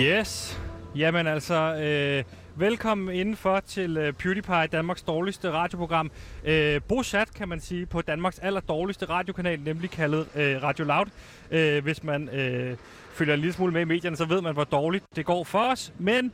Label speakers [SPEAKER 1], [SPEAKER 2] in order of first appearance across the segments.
[SPEAKER 1] Yes. Jamen altså, øh, velkommen indenfor til øh, PewDiePie, Danmarks dårligste radioprogram. Øh, bosat, kan man sige, på Danmarks allerdårligste radiokanal, nemlig kaldet øh, Radio Loud. Øh, hvis man øh, følger en lille smule med i medierne, så ved man, hvor dårligt det går for os. Men,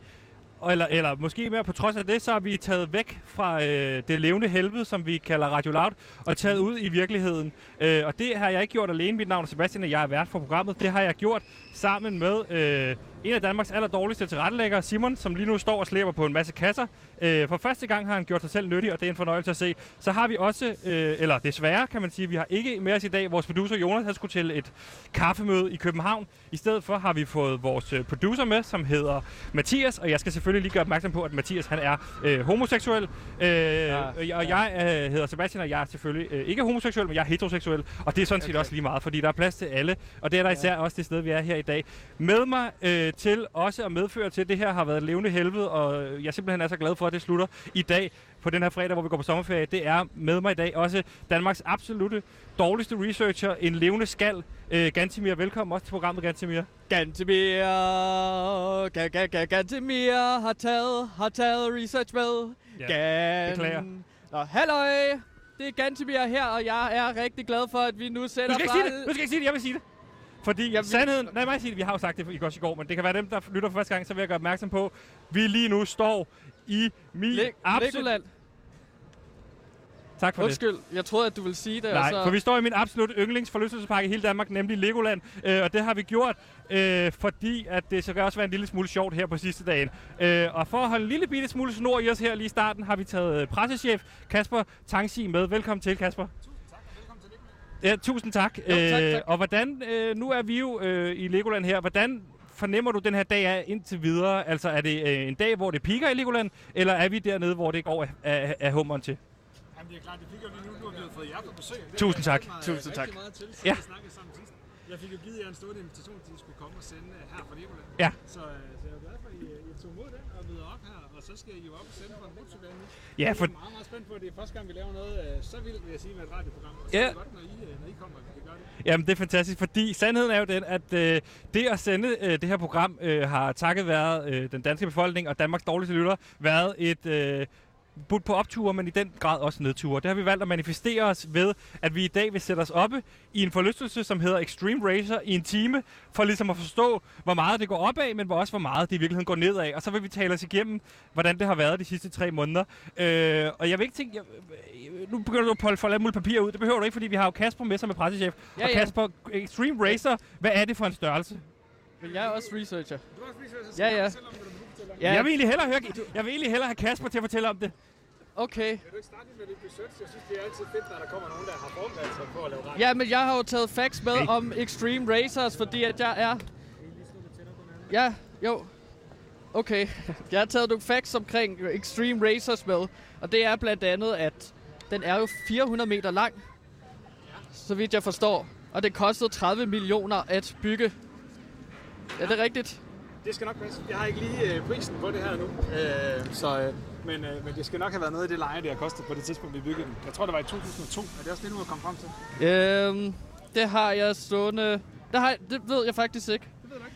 [SPEAKER 1] eller, eller måske mere på trods af det, så har vi taget væk fra øh, det levende helvede, som vi kalder Radio Loud, og taget ud i virkeligheden. Øh, og det har jeg ikke gjort alene. Mit navn er Sebastian, og jeg er vært for programmet. Det har jeg gjort sammen med øh, en af Danmarks allerdårligste tilrettelæggere, Simon, som lige nu står og slæber på en masse kasser. Øh, for første gang har han gjort sig selv nyttig, og det er en fornøjelse at se. Så har vi også, øh, eller desværre kan man sige, vi har ikke med os i dag. Vores producer Jonas han skulle til et kaffemøde i København. I stedet for har vi fået vores øh, producer med, som hedder Mathias, og jeg skal selvfølgelig lige gøre opmærksom på, at Mathias han er øh, homoseksuel. Øh, ja, og jeg øh, hedder Sebastian, og jeg er selvfølgelig øh, ikke homoseksuel, men jeg er heteroseksuel. Og det er sådan set okay. også lige meget, fordi der er plads til alle. Og det er der især også det sted, vi er her i dag. Med mig øh, til også at medføre til, at det her har været et levende helvede, og jeg simpelthen er så glad for, at det slutter i dag på den her fredag, hvor vi går på sommerferie. Det er med mig i dag også Danmarks absolute dårligste researcher, en levende skal. Øh, Gantimir, velkommen også til programmet, Gantimir.
[SPEAKER 2] Gantemir, Ga- Ga- Ga- Gantemir har taget, har taget research med.
[SPEAKER 1] Ja,
[SPEAKER 2] Gan...
[SPEAKER 1] beklager.
[SPEAKER 2] Nå, halløj! Det er Gantemir her, og jeg er rigtig glad for, at vi nu
[SPEAKER 1] Du
[SPEAKER 2] sætter
[SPEAKER 1] skal ikke sige det! Du skal ikke sige det! Jeg vil sige det! Fordi jeg
[SPEAKER 2] Jeg vil-
[SPEAKER 1] sandheden... Nej, mig sige det. Vi har jo sagt det i- også i går, men det kan være dem, der lytter for første gang, så vil jeg gøre opmærksom på, vi lige nu står i min
[SPEAKER 2] Læ-
[SPEAKER 1] absolut...
[SPEAKER 2] Legoland.
[SPEAKER 1] Tak for det.
[SPEAKER 2] Undskyld, jeg troede, at du ville sige det.
[SPEAKER 1] Nej,
[SPEAKER 2] og så...
[SPEAKER 1] for vi står i min absolut yndlingsforlystelsespakke i hele Danmark, nemlig Legoland. Øh, og det har vi gjort, øh, fordi at det så kan også være en lille smule sjovt her på sidste dagen. Øh, og for at holde en lille bitte smule snor i os her lige i starten, har vi taget øh, pressechef Kasper Tangsi med. Velkommen til, Kasper. Ja, tusind tak.
[SPEAKER 2] Jo, tak, tak.
[SPEAKER 1] og hvordan, øh, nu er vi jo øh, i Legoland her, hvordan fornemmer du den her dag er indtil videre? Altså er det øh, en dag, hvor det piker i Legoland, eller er vi dernede, hvor det går af, af, af hummeren til?
[SPEAKER 3] Jamen, det er klart, det fik jeg lige nu, nu har vi fået jer på besøg. Det
[SPEAKER 1] Tusind
[SPEAKER 3] har
[SPEAKER 1] tak.
[SPEAKER 3] jeg glædet mig
[SPEAKER 2] Tusind
[SPEAKER 3] rigtig
[SPEAKER 2] tak.
[SPEAKER 3] Meget til,
[SPEAKER 1] Ja.
[SPEAKER 3] ja. Vi snakkede sammen sidst. Jeg fik jo givet jer en stående invitation, til at I skulle komme og sende øh, her fra Legoland.
[SPEAKER 1] Ja.
[SPEAKER 3] Så, øh, så jeg er glad for, at I, øh, I tog mod den og møder op her, og så skal I jo op og sende på en motorvej nu.
[SPEAKER 1] Ja, for-
[SPEAKER 3] Jeg er meget, meget spændt på, at det er første gang, vi laver noget øh, så vildt, vil jeg sige, med et radioprogram. Og så
[SPEAKER 1] Ja.
[SPEAKER 3] er det godt, når I, øh, når I kommer, at vi kan gøre det.
[SPEAKER 1] Jamen, det er fantastisk, fordi sandheden er jo den, at øh, det at sende øh, det her program øh, har takket være øh, den danske befolkning og Danmarks dårligste lytter været et øh, bud på opture, men i den grad også nedture. Det har vi valgt at manifestere os ved, at vi i dag vil sætte os oppe i en forlystelse, som hedder Extreme Racer i en time, for ligesom at forstå, hvor meget det går opad, men hvor også hvor meget det i virkeligheden går nedad. Og så vil vi tale os igennem, hvordan det har været de sidste tre måneder. Øh, og jeg vil ikke tænke... Jeg, øh, nu begynder du at polde for alt muligt papir ud. Det behøver du ikke, fordi vi har jo Kasper med som er pressechef. Ja,
[SPEAKER 2] Ja,
[SPEAKER 1] og
[SPEAKER 2] ja.
[SPEAKER 1] Kasper, Extreme Racer, hvad er det for en størrelse?
[SPEAKER 2] Men jeg er også researcher.
[SPEAKER 3] Du har også vist,
[SPEAKER 2] Ja, ja.
[SPEAKER 3] Selvom du nu fortæller.
[SPEAKER 2] Ja,
[SPEAKER 1] Jeg vil egentlig hellere, høre, jeg vil egentlig hellere have Kasper til at fortælle om det.
[SPEAKER 2] okay.
[SPEAKER 3] Vil du ikke starte med lidt research? Jeg synes, det er altid fedt, når der kommer nogen, der har forberedt sig på at lave radio.
[SPEAKER 2] Ja, men jeg har jo taget facts med
[SPEAKER 1] Hey.
[SPEAKER 2] om Extreme Racers, fordi at jeg er... Ja, jo. Okay. Jeg har taget nogle facts omkring Extreme Racers med, og det er blandt andet, at den er jo 400 meter lang, så vidt jeg forstår, og det kostede 30 millioner at bygge. Er det rigtigt?
[SPEAKER 3] Det skal nok passe. Jeg har ikke lige øh, prisen på det her nu, øh, så, øh, men, øh, men det skal nok have været noget af det leje, det har kostet på det tidspunkt, vi byggede den. Jeg tror, det var i 2002. Er det også det, du har kommet frem til?
[SPEAKER 2] Øhm, det har jeg stående... Det, har, det ved jeg faktisk ikke.
[SPEAKER 3] Det ved jeg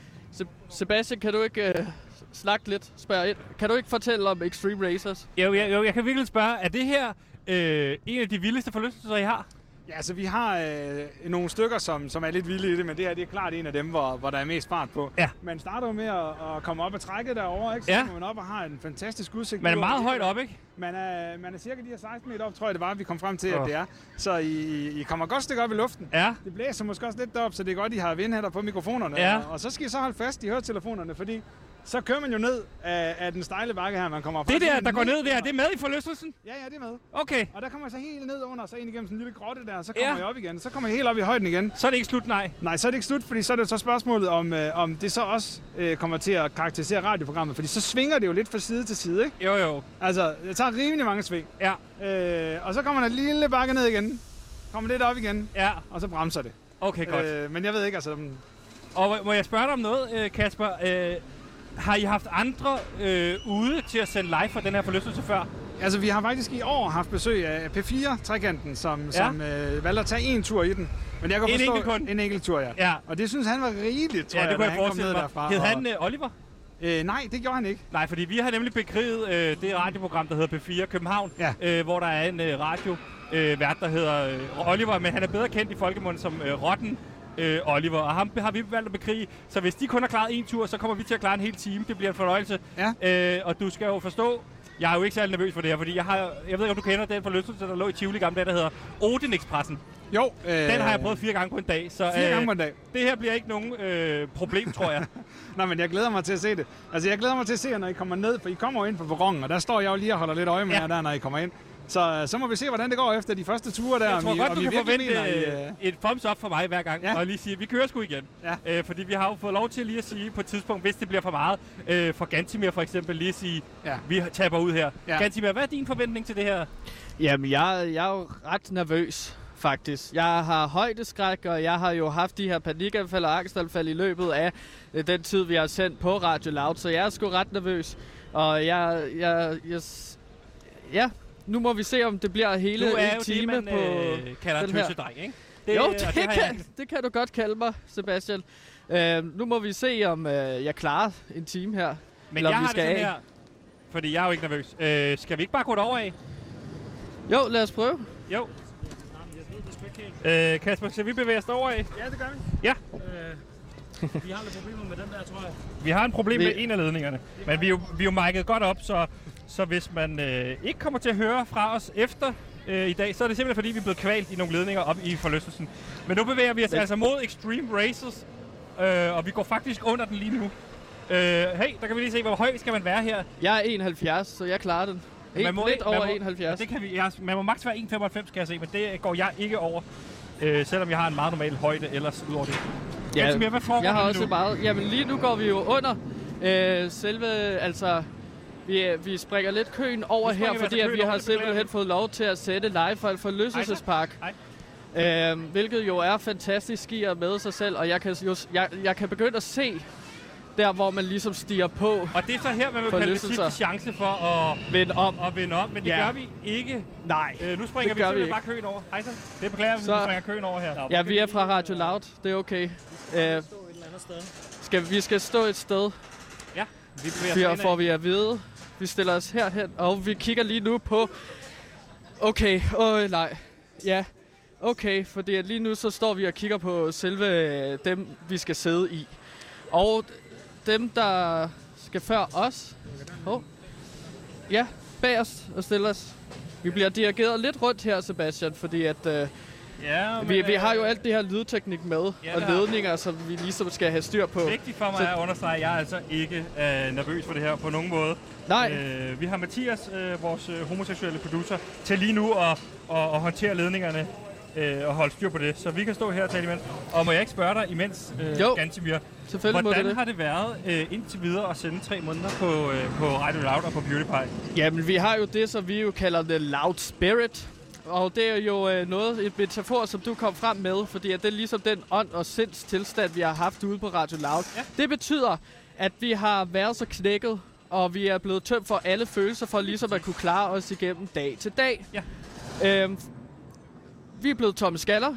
[SPEAKER 3] ikke.
[SPEAKER 2] Se- Sebastian, kan du ikke øh, snakke lidt? Spørg ind. Kan du ikke fortælle om Extreme Racers?
[SPEAKER 1] Jo, jeg, jo, jeg kan virkelig spørge, er det her øh, en af de vildeste forlystelser, I har?
[SPEAKER 3] Ja, altså vi har øh, nogle stykker, som, som er lidt vilde i det, men det her det er klart en af dem, hvor, hvor der er mest fart på.
[SPEAKER 1] Ja.
[SPEAKER 3] Man starter jo med at, at komme op og trække derovre, ikke? Så
[SPEAKER 1] Ja.
[SPEAKER 3] kommer man op og har en fantastisk udsigt.
[SPEAKER 1] Man er
[SPEAKER 3] ud over
[SPEAKER 1] meget
[SPEAKER 3] hele
[SPEAKER 1] højt op, ikke?
[SPEAKER 3] Man er, man er cirka de her 16 meter op, tror jeg det var, vi kom frem til, at
[SPEAKER 1] Åh.
[SPEAKER 3] det er. Så I, I kommer godt et stykke op i luften.
[SPEAKER 1] Ja.
[SPEAKER 3] Det blæser måske også lidt derop, så det er godt, I har vindhætter på mikrofonerne.
[SPEAKER 1] Ja.
[SPEAKER 3] Og, og så skal I så holde fast i høretelefonerne, fordi så kører man jo ned af, af den stejle bakke her, man kommer op.
[SPEAKER 1] Det
[SPEAKER 3] Faktisk
[SPEAKER 1] der,
[SPEAKER 3] helt
[SPEAKER 1] der går ned der,
[SPEAKER 3] under-
[SPEAKER 1] det er med i forlystelsen?
[SPEAKER 3] Ja, ja, det er med.
[SPEAKER 1] Okay,
[SPEAKER 3] Og der kommer jeg så helt ned under, så ind igennem sådan en lille grotte der, og så
[SPEAKER 1] Ja.
[SPEAKER 3] kommer jeg op igen. Så kommer jeg helt op i højden igen.
[SPEAKER 1] så er det ikke slut, nej.
[SPEAKER 3] Nej, så er det ikke slut, fordi så er det jo så spørgsmålet, om, øh, om det så også øh, kommer til at karakterisere radioprogrammet. Fordi så svinger det jo lidt fra side til side, ikke?
[SPEAKER 1] Jo, jo.
[SPEAKER 3] Altså, jeg tager rimelig mange sving.
[SPEAKER 1] Ja,
[SPEAKER 3] Øh, og så kommer der en lille bakke ned igen. Kommer lidt op igen,
[SPEAKER 1] ja.
[SPEAKER 3] og så bremser det.
[SPEAKER 1] Okay, godt.
[SPEAKER 3] Øh, men jeg ved ikke, altså... om-
[SPEAKER 1] Og må- må jeg spørge dig om noget, øh, Kasper? Øh, har I haft andre øh, ude til at sende live for den her forlystelse før?
[SPEAKER 3] Altså, vi har faktisk i år haft besøg af P4-trekanten, som, ja. som øh, valgte at tage en tur i den. Men jeg kan
[SPEAKER 1] En
[SPEAKER 3] forstå,
[SPEAKER 1] enkelt kun?
[SPEAKER 3] En enkelt tur, ja.
[SPEAKER 1] Ja.
[SPEAKER 3] Og det synes han var rigeligt, tror
[SPEAKER 1] ja, det
[SPEAKER 3] jeg,
[SPEAKER 1] kunne jeg
[SPEAKER 3] da han kom
[SPEAKER 1] forestille
[SPEAKER 3] ned
[SPEAKER 1] mig.
[SPEAKER 3] derfra.
[SPEAKER 1] Hed
[SPEAKER 3] og-
[SPEAKER 1] han øh, Oliver?
[SPEAKER 3] Øh, nej, det gjorde han ikke.
[SPEAKER 1] Nej, fordi vi har nemlig bekriget øh, det radioprogram, der hedder P4 København,
[SPEAKER 3] Ja.
[SPEAKER 1] øh, hvor der er en øh, radio øh, vært, der hedder øh, Oliver, men han er bedre kendt i folkemunden som øh, Rotten øh, Oliver, og ham har vi valgt at bekrige. Så hvis de kun har klaret en tur, så kommer vi til at klare en hel time. Det bliver en fornøjelse. Ja. Øh, og du skal jo forstå, jeg er jo ikke særlig nervøs for det her, fordi jeg har, jeg ved ikke, om du kender den forlystelse, der lå i Tivoli i gamle dage, der hedder Odin-Expressen.
[SPEAKER 3] Jo. Øh,
[SPEAKER 1] Den har jeg prøvet fire gange på en dag, så øh,
[SPEAKER 3] Fire gange på en dag.
[SPEAKER 1] det her bliver ikke nogen øh, problem, tror jeg.
[SPEAKER 3] Nå, men jeg glæder mig til at se det. Altså, jeg glæder mig til at se jer, når I kommer ned, for I kommer jo ind på perronen, og der står jeg jo lige og holder lidt øje med
[SPEAKER 1] Ja.
[SPEAKER 3] jer der, når I kommer ind. Så, øh, så må vi se, hvordan det går efter de første ture der.
[SPEAKER 1] Jeg
[SPEAKER 3] om
[SPEAKER 1] tror
[SPEAKER 3] I,
[SPEAKER 1] godt,
[SPEAKER 3] om
[SPEAKER 1] du
[SPEAKER 3] I
[SPEAKER 1] kan forvente
[SPEAKER 3] virkelig mener, I,
[SPEAKER 1] øh,
[SPEAKER 3] øh,
[SPEAKER 1] et thumbs up for mig hver gang,
[SPEAKER 3] Ja.
[SPEAKER 1] og lige sige, vi kører sgu igen.
[SPEAKER 3] Ja.
[SPEAKER 1] Øh, fordi vi har jo fået lov til lige at sige på et tidspunkt, hvis det bliver for meget, øh, for Gantimir for eksempel, lige at sige,
[SPEAKER 3] Ja.
[SPEAKER 1] vi taber ud her.
[SPEAKER 3] Ja.
[SPEAKER 1] Gantimir, hvad er din forventning til det her?
[SPEAKER 2] Jamen, jeg, jeg er jo ret nervøs, faktisk. Jeg har højdeskræk, og jeg har jo haft de her panikanfald og angstanfald i løbet af øh, den tid, vi har sendt på Radio Loud, så jeg er sgu ret nervøs. Og jeg... jeg, jeg s- ja, nu må vi se, om det bliver hele
[SPEAKER 1] du er
[SPEAKER 2] en
[SPEAKER 1] jo
[SPEAKER 2] time
[SPEAKER 1] det, man
[SPEAKER 2] på...
[SPEAKER 1] øh, kalder en
[SPEAKER 2] den her.
[SPEAKER 1] tøsedreng, ikke?
[SPEAKER 2] Det, jo,
[SPEAKER 1] og
[SPEAKER 2] det,
[SPEAKER 1] har
[SPEAKER 2] det,
[SPEAKER 1] jeg
[SPEAKER 2] kan, det kan du godt kalde mig, Sebastian. Øh, nu må vi se, om øh, jeg klarer en time her.
[SPEAKER 1] Men
[SPEAKER 2] eller om
[SPEAKER 1] jeg har
[SPEAKER 2] vi
[SPEAKER 1] det
[SPEAKER 2] skal
[SPEAKER 1] sådan
[SPEAKER 2] af.
[SPEAKER 1] her, fordi jeg er jo ikke nervøs. Øh, skal vi ikke bare gå derover af?
[SPEAKER 2] Jo, lad os prøve.
[SPEAKER 1] Jo. Øh, Kasper, skal vi bevæge os derover af?
[SPEAKER 3] Ja, det gør vi. Øh,
[SPEAKER 1] Ja.
[SPEAKER 3] Vi har lidt problemer med den der, tror jeg.
[SPEAKER 1] Vi har en problem
[SPEAKER 2] Vi-
[SPEAKER 1] med en af ledningerne, men vi er jo, vi er jo mic'et godt op, så, så hvis man øh, ikke kommer til at høre fra os efter øh, i dag, så er det simpelthen fordi, vi er blevet kvalt i nogle ledninger op i forlystelsen. Men nu bevæger vi os altså mod Extreme Races, øh, og vi går faktisk under den lige nu. Øh, hey, der kan vi lige se, hvor høj skal man være her.
[SPEAKER 2] Jeg er 71, så jeg klarer den. Man må lidt
[SPEAKER 1] ikke-
[SPEAKER 2] over
[SPEAKER 1] man må,
[SPEAKER 2] 71.
[SPEAKER 1] Det kan vi, jeg, man må maks være 1,95, kan jeg se, men det går jeg ikke over. Øh, selvom jeg har en meget normal højde ellers udover det. Ja, Gansimir, hvad foregår
[SPEAKER 2] jeg har
[SPEAKER 1] lige
[SPEAKER 2] også
[SPEAKER 1] nu?
[SPEAKER 2] meget. Jamen lige nu går vi jo under øh, selve, altså vi, øh, vi springer lidt køen over
[SPEAKER 1] Vi springer
[SPEAKER 2] her,
[SPEAKER 1] altså
[SPEAKER 2] fordi at
[SPEAKER 1] køen
[SPEAKER 2] vi
[SPEAKER 1] over,
[SPEAKER 2] har
[SPEAKER 1] det beklager
[SPEAKER 2] simpelthen
[SPEAKER 1] vi.
[SPEAKER 2] fået lov til at sætte live for en forlystelsespark.
[SPEAKER 1] Ej,
[SPEAKER 2] Øh, hvilket jo er fantastisk i og med sig selv, og jeg kan, jo, s- jeg, jeg kan begynde at se der, hvor man ligesom stiger på,
[SPEAKER 1] Og det er så her, man vil kalde det
[SPEAKER 2] Forlystelser.
[SPEAKER 1] sidste chance for at,
[SPEAKER 2] vend om.
[SPEAKER 1] at vinde om, men det
[SPEAKER 2] Ja.
[SPEAKER 1] gør vi ikke.
[SPEAKER 2] Nej.
[SPEAKER 1] Øh, nu springer
[SPEAKER 2] Det
[SPEAKER 1] vi
[SPEAKER 2] gør vi
[SPEAKER 1] simpelthen
[SPEAKER 2] ikke.
[SPEAKER 1] bare køen over. Hej så. Det beklager vi,
[SPEAKER 2] Så-
[SPEAKER 1] så... vi springer køen over her.
[SPEAKER 2] Ja, vi er fra Radio Loud. Det er okay. Øh, skal, vi skal stå et sted,
[SPEAKER 1] ja. Vi
[SPEAKER 2] Her får
[SPEAKER 1] bevæger vi...
[SPEAKER 2] vi at vide. Vi stiller os herhen, og vi kigger lige nu på... Okay, åh nej. Ja, okay, fordi at lige nu så står vi og kigger på selve øh, dem, vi skal sidde i. Og dem, der skal før os... Oh. Ja, bag os og stille os. Vi bliver dirigeret lidt rundt her, Sebastian, fordi at, øh,
[SPEAKER 1] Ja, men,
[SPEAKER 2] vi, vi
[SPEAKER 1] øh,
[SPEAKER 2] har jo alt det her lydteknik med,
[SPEAKER 1] Ja,
[SPEAKER 2] og
[SPEAKER 1] det har vi.
[SPEAKER 2] ledninger, som vi ligesom skal have styr på.
[SPEAKER 1] Vigtigt for mig at understrege, at jeg er altså ikke øh, nervøs for det her på nogen måde.
[SPEAKER 2] Nej.
[SPEAKER 1] Øh, vi har Mathias, øh, vores øh, homoseksuelle producer, til lige nu at, at, at håndtere ledningerne øh, og holde styr på det. Så vi kan stå her og tale imens. Og må jeg ikke spørge dig imens, øh,
[SPEAKER 2] Jo.
[SPEAKER 1] Gantimir,
[SPEAKER 2] Selvfølgelig må det
[SPEAKER 1] hvordan
[SPEAKER 2] det.
[SPEAKER 1] har det været øh, indtil videre at sende tre måneder på, øh, på Radio Loud og på Beauty Pie?
[SPEAKER 2] Jamen, vi har jo det, som vi jo kalder the loud spirit. Og det er jo øh, noget, et metafor, som du kom frem med, fordi at det er ligesom den ånd og sinds tilstand, vi har haft ude på Radio Loud. Ja. Det betyder, at vi har været så knækket, og vi er blevet tømt for alle følelser, for ligesom at kunne klare os igennem dag til dag. Ja. Øhm, vi er blevet tomme skaller.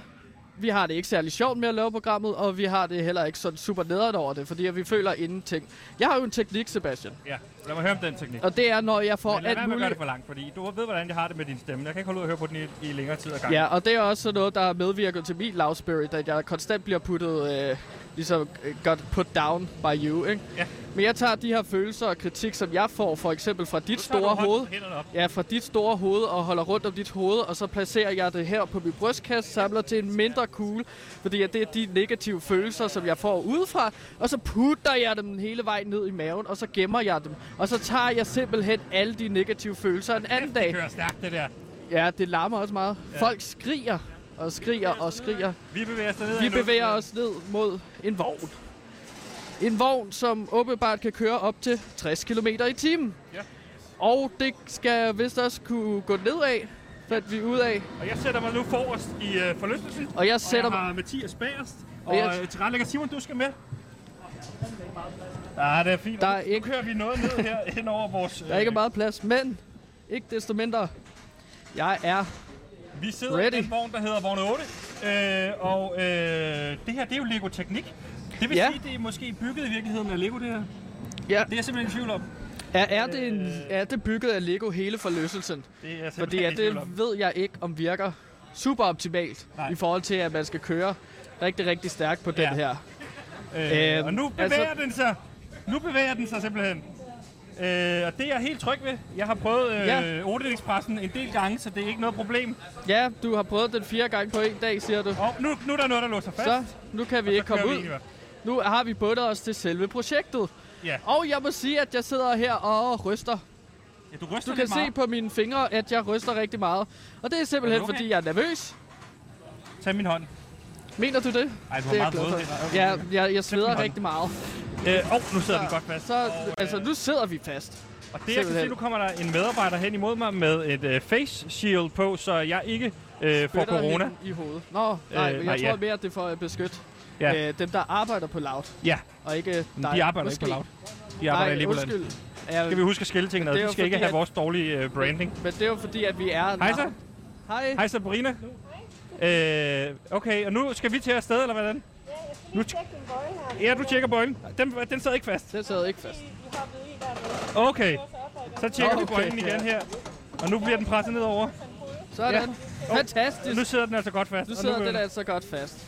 [SPEAKER 2] Vi har det ikke særlig sjovt med at lave programmet, og vi har det heller ikke sådan super nederen over det, fordi at vi føler ingenting. Jeg har jo en teknik, Sebastian,
[SPEAKER 1] Ja, lad mig høre om den teknik.
[SPEAKER 2] og det er, når jeg får
[SPEAKER 1] Men lad
[SPEAKER 2] alt
[SPEAKER 1] være med at
[SPEAKER 2] muligt...
[SPEAKER 1] gøre det for langt, fordi du ved, hvordan jeg har det med din stemme. Jeg kan ikke holde ud at høre på den i, i længere tid ad gangen.
[SPEAKER 2] Ja, og det er også sådan noget, der er medvirket til min loud spirit, at jeg konstant bliver puttet, øh, ligesom øh, godt put down by you, ikke?
[SPEAKER 1] Ja.
[SPEAKER 2] Men jeg tager de her følelser og kritik, som jeg får, for eksempel fra dit
[SPEAKER 1] Nu tager du
[SPEAKER 2] store
[SPEAKER 1] hånden-
[SPEAKER 2] hoved,
[SPEAKER 1] hænderne op.
[SPEAKER 2] ja, fra dit store hoved og holder rundt om dit hoved, og så placerer jeg det her på min brystkasse, samler til en mindre kugle, fordi at det er de negative følelser, som jeg får udefra, og så putter jeg dem hele vejen ned i maven, og så gemmer jeg dem. Og så tager jeg simpelthen alle de negative følelser en anden dag.
[SPEAKER 1] Det kører stærkt, det der.
[SPEAKER 2] Ja, det larmer også meget. Ja. Folk skriger og skriger og skriger.
[SPEAKER 1] Vi bevæger os ned.
[SPEAKER 2] Vi bevæger os ned mod en vogn. En vogn, som åbenbart kan køre op til 60 km i timen.
[SPEAKER 1] Ja.
[SPEAKER 2] Og det skal vist også kunne gå nedad, fandt vi ud af.
[SPEAKER 1] Og jeg sætter mig nu forrest i øh, forlystelsen.
[SPEAKER 2] Og jeg
[SPEAKER 1] Sætter
[SPEAKER 2] sætter
[SPEAKER 1] og jeg
[SPEAKER 2] mig...
[SPEAKER 1] har Mathias bagerst.
[SPEAKER 2] Og
[SPEAKER 1] Og
[SPEAKER 2] jeg-
[SPEAKER 1] øh, tilrettelægger Simon, du skal med. Ja, det er fint.
[SPEAKER 2] Der er
[SPEAKER 1] Nu-
[SPEAKER 2] ikke-
[SPEAKER 1] Nu kører vi noget ned her hen over vores... øh,
[SPEAKER 2] Der er ikke meget plads, men ikke desto mindre. Jeg er...
[SPEAKER 1] Vi sidder
[SPEAKER 2] Ready.
[SPEAKER 1] Ready. i den vogn, der hedder vogn 8. Øh, og øh, det her, det er jo Lego Teknik. Det vil
[SPEAKER 2] Ja.
[SPEAKER 1] sige, det er måske bygget i virkeligheden af Lego, det her.
[SPEAKER 2] Ja.
[SPEAKER 3] Det er jeg simpelthen i tvivl om.
[SPEAKER 2] Er, er, det en,
[SPEAKER 1] Øh.
[SPEAKER 2] er det bygget af Lego hele forlystelsen?
[SPEAKER 1] Det er
[SPEAKER 2] Fordi at
[SPEAKER 1] i tvivl om.
[SPEAKER 2] det ved jeg ikke, om virker super optimalt
[SPEAKER 1] Nej.
[SPEAKER 2] Nej. i forhold til, at man skal køre rigtig, rigtig stærkt på den
[SPEAKER 1] Ja.
[SPEAKER 2] her.
[SPEAKER 1] Øh,
[SPEAKER 2] Øhm,
[SPEAKER 1] og nu bevæger altså...
[SPEAKER 2] altså-
[SPEAKER 1] den sig. Nu bevæger den sig simpelthen. Øh, og det er jeg helt tryg ved. Jeg har prøvet øh, ja.
[SPEAKER 2] Ja.
[SPEAKER 1] Odin Expressen en del gange, så det er ikke noget problem.
[SPEAKER 2] Ja, du har prøvet den fire gange på en dag, siger du.
[SPEAKER 1] Og nu, nu er der noget, der låser fast.
[SPEAKER 2] Så nu kan vi ikke komme
[SPEAKER 1] kører
[SPEAKER 2] ud.
[SPEAKER 1] egentlig bare.
[SPEAKER 2] Nu har vi bundet os til selve projektet.
[SPEAKER 1] Ja.
[SPEAKER 2] Og jeg må sige, at jeg sidder her og ryster.
[SPEAKER 1] ja, du ryster
[SPEAKER 2] Du kan
[SPEAKER 1] lidt
[SPEAKER 2] se
[SPEAKER 1] meget.
[SPEAKER 2] på mine fingre, at jeg ryster rigtig meget. Og det er simpelthen,
[SPEAKER 1] Er
[SPEAKER 2] er
[SPEAKER 1] du okay?
[SPEAKER 2] fordi jeg er nervøs.
[SPEAKER 1] Tag min hånd.
[SPEAKER 2] Mener du det?
[SPEAKER 1] Ej, du
[SPEAKER 2] Det er
[SPEAKER 1] har
[SPEAKER 2] jeg glad
[SPEAKER 1] meget
[SPEAKER 2] for.
[SPEAKER 1] våde hænder.
[SPEAKER 2] Ja, jeg, jeg
[SPEAKER 1] hånd.
[SPEAKER 2] sveder rigtig meget.
[SPEAKER 1] Øh, oh, nu sidder den godt fast.
[SPEAKER 2] Så,
[SPEAKER 1] og, øh,
[SPEAKER 2] altså, nu sidder vi fast.
[SPEAKER 1] og det, jeg kan se,
[SPEAKER 2] simpelthen.
[SPEAKER 1] nu kommer der en medarbejder hen imod mig med et øh, face shield på, så jeg ikke øh, får
[SPEAKER 2] Bøtter
[SPEAKER 1] corona.
[SPEAKER 2] hende I hovedet. Nå, nej,
[SPEAKER 1] Øh,
[SPEAKER 2] øh, jeg
[SPEAKER 1] nej,
[SPEAKER 2] nej, tror
[SPEAKER 1] ja.
[SPEAKER 2] mere, at det er for at beskytte
[SPEAKER 1] Ja.
[SPEAKER 2] ja. øh, dem, der arbejder på Loud,
[SPEAKER 1] Ja,
[SPEAKER 2] og ikke øh,
[SPEAKER 1] men
[SPEAKER 2] dig.
[SPEAKER 1] de arbejder
[SPEAKER 2] Måske.
[SPEAKER 1] ikke på laut. De arbejder i
[SPEAKER 2] Nej,
[SPEAKER 1] Legoland.
[SPEAKER 2] undskyld. Ja,
[SPEAKER 1] Skal vi huske at skille tingene ad?
[SPEAKER 2] Det er
[SPEAKER 1] De
[SPEAKER 2] jo
[SPEAKER 1] skal ikke
[SPEAKER 2] fordi,
[SPEAKER 1] have
[SPEAKER 2] at-
[SPEAKER 1] vores dårlige øh, branding.
[SPEAKER 2] Men det er jo fordi, at vi er...
[SPEAKER 1] Hej så.
[SPEAKER 2] Hej.
[SPEAKER 1] Hej Sabrina. Øh, okay, og nu skal vi til afsted, eller hvordan?
[SPEAKER 4] Ja, jeg skal lige tjekke din bøjle her.
[SPEAKER 1] Ja, du tjekker bøjlen. Den, den sad ikke fast.
[SPEAKER 2] Den sad ikke fast.
[SPEAKER 4] I hoppede i dernede.
[SPEAKER 1] Okay,
[SPEAKER 4] Så op
[SPEAKER 1] så
[SPEAKER 4] og i
[SPEAKER 1] tjekker vi
[SPEAKER 2] Okay,
[SPEAKER 1] bøjlen igen her. Og nu bliver den presset nedover.
[SPEAKER 2] Sådan. Fantastisk.
[SPEAKER 1] Nu sidder den altså godt fast.
[SPEAKER 2] Nu
[SPEAKER 1] og
[SPEAKER 2] sidder den
[SPEAKER 1] begynder-
[SPEAKER 2] altså godt fast.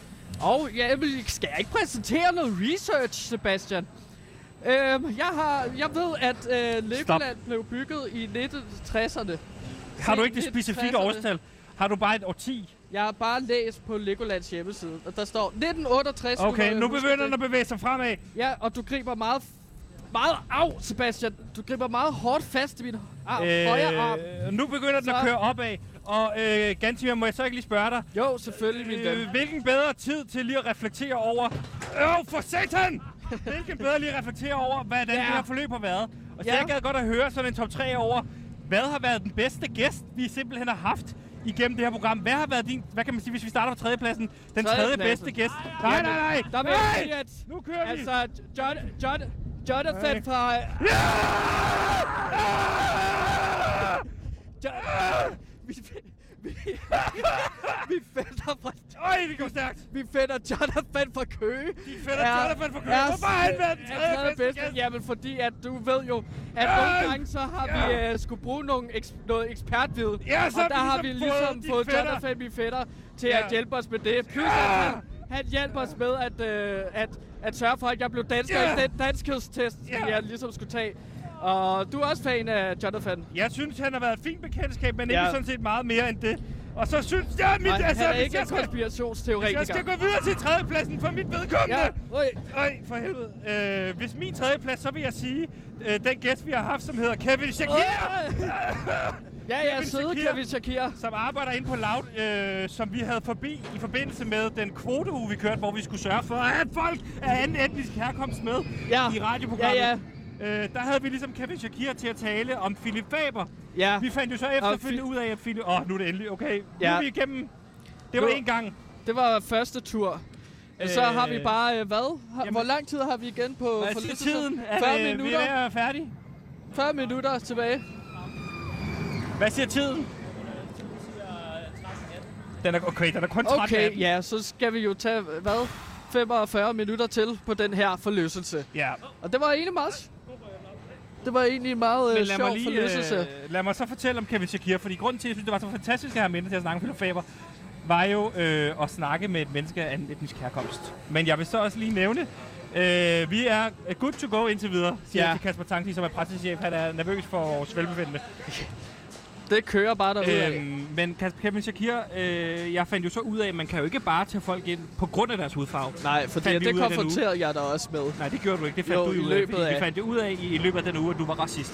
[SPEAKER 2] Og ja, men skal jeg ikke præsentere noget research, Sebastian? Øhm, jeg, har, jeg ved, at øh, Legoland blev bygget i 1960'erne.
[SPEAKER 1] Har du ikke det
[SPEAKER 2] Helt
[SPEAKER 1] specifikke
[SPEAKER 2] presser det.
[SPEAKER 1] årstal? Har du bare et årti?
[SPEAKER 2] Jeg har bare læst på Legolands hjemmeside, og der står 1968.
[SPEAKER 1] Okay, nu begynder den
[SPEAKER 2] der...
[SPEAKER 1] at bevæge sig fremad.
[SPEAKER 2] Ja, og du griber meget... Meget... Au, Sebastian! Du griber meget hårdt fast i min arm, øh... højre arm.
[SPEAKER 1] Øh, nu begynder den at
[SPEAKER 2] Så-
[SPEAKER 1] køre opad. Og øh, Gantimir, må jeg så ikke lige spørge dig?
[SPEAKER 2] Jo, selvfølgelig, min ven.
[SPEAKER 1] Øh, hvilken bedre tid til lige at reflektere over... Øv, for satan! Hvilken bedre lige at reflektere over, hvordan
[SPEAKER 2] Ja.
[SPEAKER 1] det her forløb har været. Og så
[SPEAKER 2] Ja.
[SPEAKER 1] jeg gad godt at høre sådan en top 3 over, hvad har været den bedste gæst, vi simpelthen har haft igennem det her program. Hvad har været din, hvad kan man sige, hvis vi starter på tredjepladsen, den tredje
[SPEAKER 2] Tredjepladsen.
[SPEAKER 1] bedste gæst? Nej, nej, nej!
[SPEAKER 2] Der vil jeg sige,
[SPEAKER 1] nej!
[SPEAKER 2] at...
[SPEAKER 1] Nu kører vi!
[SPEAKER 2] Altså, John, John, Jonathan fra... Jo- Vi, vi, vi, finder fra,
[SPEAKER 1] Øj, det går stærkt!
[SPEAKER 2] vi finder Jonathan fra Køge.
[SPEAKER 1] Vi finder Jonathan fra Køge. Hvorfor har han været den
[SPEAKER 2] er
[SPEAKER 1] tredje bedste gæst?
[SPEAKER 2] Jamen, fordi at du ved jo, at
[SPEAKER 1] Ja.
[SPEAKER 2] nogle gange så har
[SPEAKER 1] Ja.
[SPEAKER 2] vi uh, skulle bruge nogle eks, noget ekspertviden.
[SPEAKER 1] Ja, så
[SPEAKER 2] og der
[SPEAKER 1] har
[SPEAKER 2] har
[SPEAKER 1] vi
[SPEAKER 2] vi
[SPEAKER 1] ligesom fået
[SPEAKER 2] ligesom
[SPEAKER 1] de
[SPEAKER 2] fået
[SPEAKER 1] fætter.
[SPEAKER 2] Jonathan, vi fætter, til
[SPEAKER 1] Ja.
[SPEAKER 2] at hjælpe os med det. Plus, at han, han hjælper os med at, øh, at, at sørge for, at jeg blev dansker
[SPEAKER 1] Ja.
[SPEAKER 2] i den danskhedstest,
[SPEAKER 1] Ja.
[SPEAKER 2] som jeg ligesom skulle tage. Og du er også fan af Jonathan.
[SPEAKER 1] Jeg synes, han har været et fint bekendtskab, men ikke
[SPEAKER 2] Ja.
[SPEAKER 1] sådan set meget mere end det. Og så synes jeg, mit,
[SPEAKER 2] Og han
[SPEAKER 1] altså,
[SPEAKER 2] er
[SPEAKER 1] hvis
[SPEAKER 2] ikke en
[SPEAKER 1] jeg, skal, hvis jeg
[SPEAKER 2] konspirationsteoretiker.
[SPEAKER 1] skal gå videre til tredjepladsen for mit vedkommende.
[SPEAKER 2] Ja, Øj.
[SPEAKER 1] Øj, for helvede. Øh, hvis min tredjeplads, så vil jeg sige, øh, den gæst, vi har haft, som hedder Kevin Shakir,
[SPEAKER 2] ja, ja,
[SPEAKER 1] Kevin
[SPEAKER 2] søde
[SPEAKER 1] Shakir.
[SPEAKER 2] Kevin Shakir.
[SPEAKER 1] som arbejder inde på Loud, øh, som vi havde forbi i forbindelse med den kvoteuge, vi kørte, hvor vi skulle sørge for, at folk af anden etnisk herkomst med
[SPEAKER 2] Ja.
[SPEAKER 1] i radioprogrammet.
[SPEAKER 2] Ja,
[SPEAKER 1] Øh, der havde vi ligesom Kevin Shakir til at tale om Philip Faber.
[SPEAKER 2] Ja.
[SPEAKER 1] Vi fandt jo så efterfølgende ud af, at Philip... Åh, oh, nu er det endelig. Okay, ja. nu
[SPEAKER 2] Ja.
[SPEAKER 1] er vi igennem. Det var
[SPEAKER 2] Nu-
[SPEAKER 1] én gang.
[SPEAKER 2] Det var første tur. Så
[SPEAKER 1] Øh,
[SPEAKER 2] har vi bare, øh, hvad? Har,
[SPEAKER 1] jamen-
[SPEAKER 2] hvor lang tid har vi igen på
[SPEAKER 1] Hvad siger
[SPEAKER 2] forlystelsen?
[SPEAKER 1] tiden? Er
[SPEAKER 2] 40
[SPEAKER 1] det- Vi er ved
[SPEAKER 2] minutter,
[SPEAKER 1] at være færdige.
[SPEAKER 2] 40 minutter tilbage.
[SPEAKER 1] Hvad siger tiden? Den er, okay, den er kun 13 af
[SPEAKER 2] Okay,
[SPEAKER 1] den.
[SPEAKER 2] ja, så skal vi jo tage, øh, hvad? 45 minutter til på den her forløselse.
[SPEAKER 1] ja.
[SPEAKER 2] Og det var egentlig meget... Det var egentlig en meget øh,
[SPEAKER 1] Men lad
[SPEAKER 2] sjov
[SPEAKER 1] mig, lige,
[SPEAKER 2] forløselse.
[SPEAKER 1] øh, lad mig så fortælle om Kevin Shakir, fordi grunden til, at jeg synes, det var så fantastisk at have mindre til at snakke med Philip Faber, var jo øh, at snakke med et menneske af anden etnisk herkomst. Men jeg vil så også lige nævne, øh, vi er good to go indtil videre, siger
[SPEAKER 2] Ja.
[SPEAKER 1] ja. til Kasper Tanki, som er pressechef. Han er nervøs for vores velbefindende.
[SPEAKER 2] Det kører bare derudad.
[SPEAKER 1] Øhm, men Kasper Kevin Shakir, øh, jeg fandt jo så ud af, at man kan jo ikke bare tage folk ind på grund af deres hudfarve.
[SPEAKER 2] Nej, for
[SPEAKER 1] fandt vi
[SPEAKER 2] det, det
[SPEAKER 1] ud af den uge.
[SPEAKER 2] konfronterede jeg dig også med.
[SPEAKER 1] Nej, det gjorde du ikke. Det fandt
[SPEAKER 2] Jo,
[SPEAKER 1] du
[SPEAKER 2] i
[SPEAKER 1] ud
[SPEAKER 2] løbet
[SPEAKER 1] af, fordi vi
[SPEAKER 2] af-
[SPEAKER 1] fandt det ud af i, i løbet af den uge, at du var racist.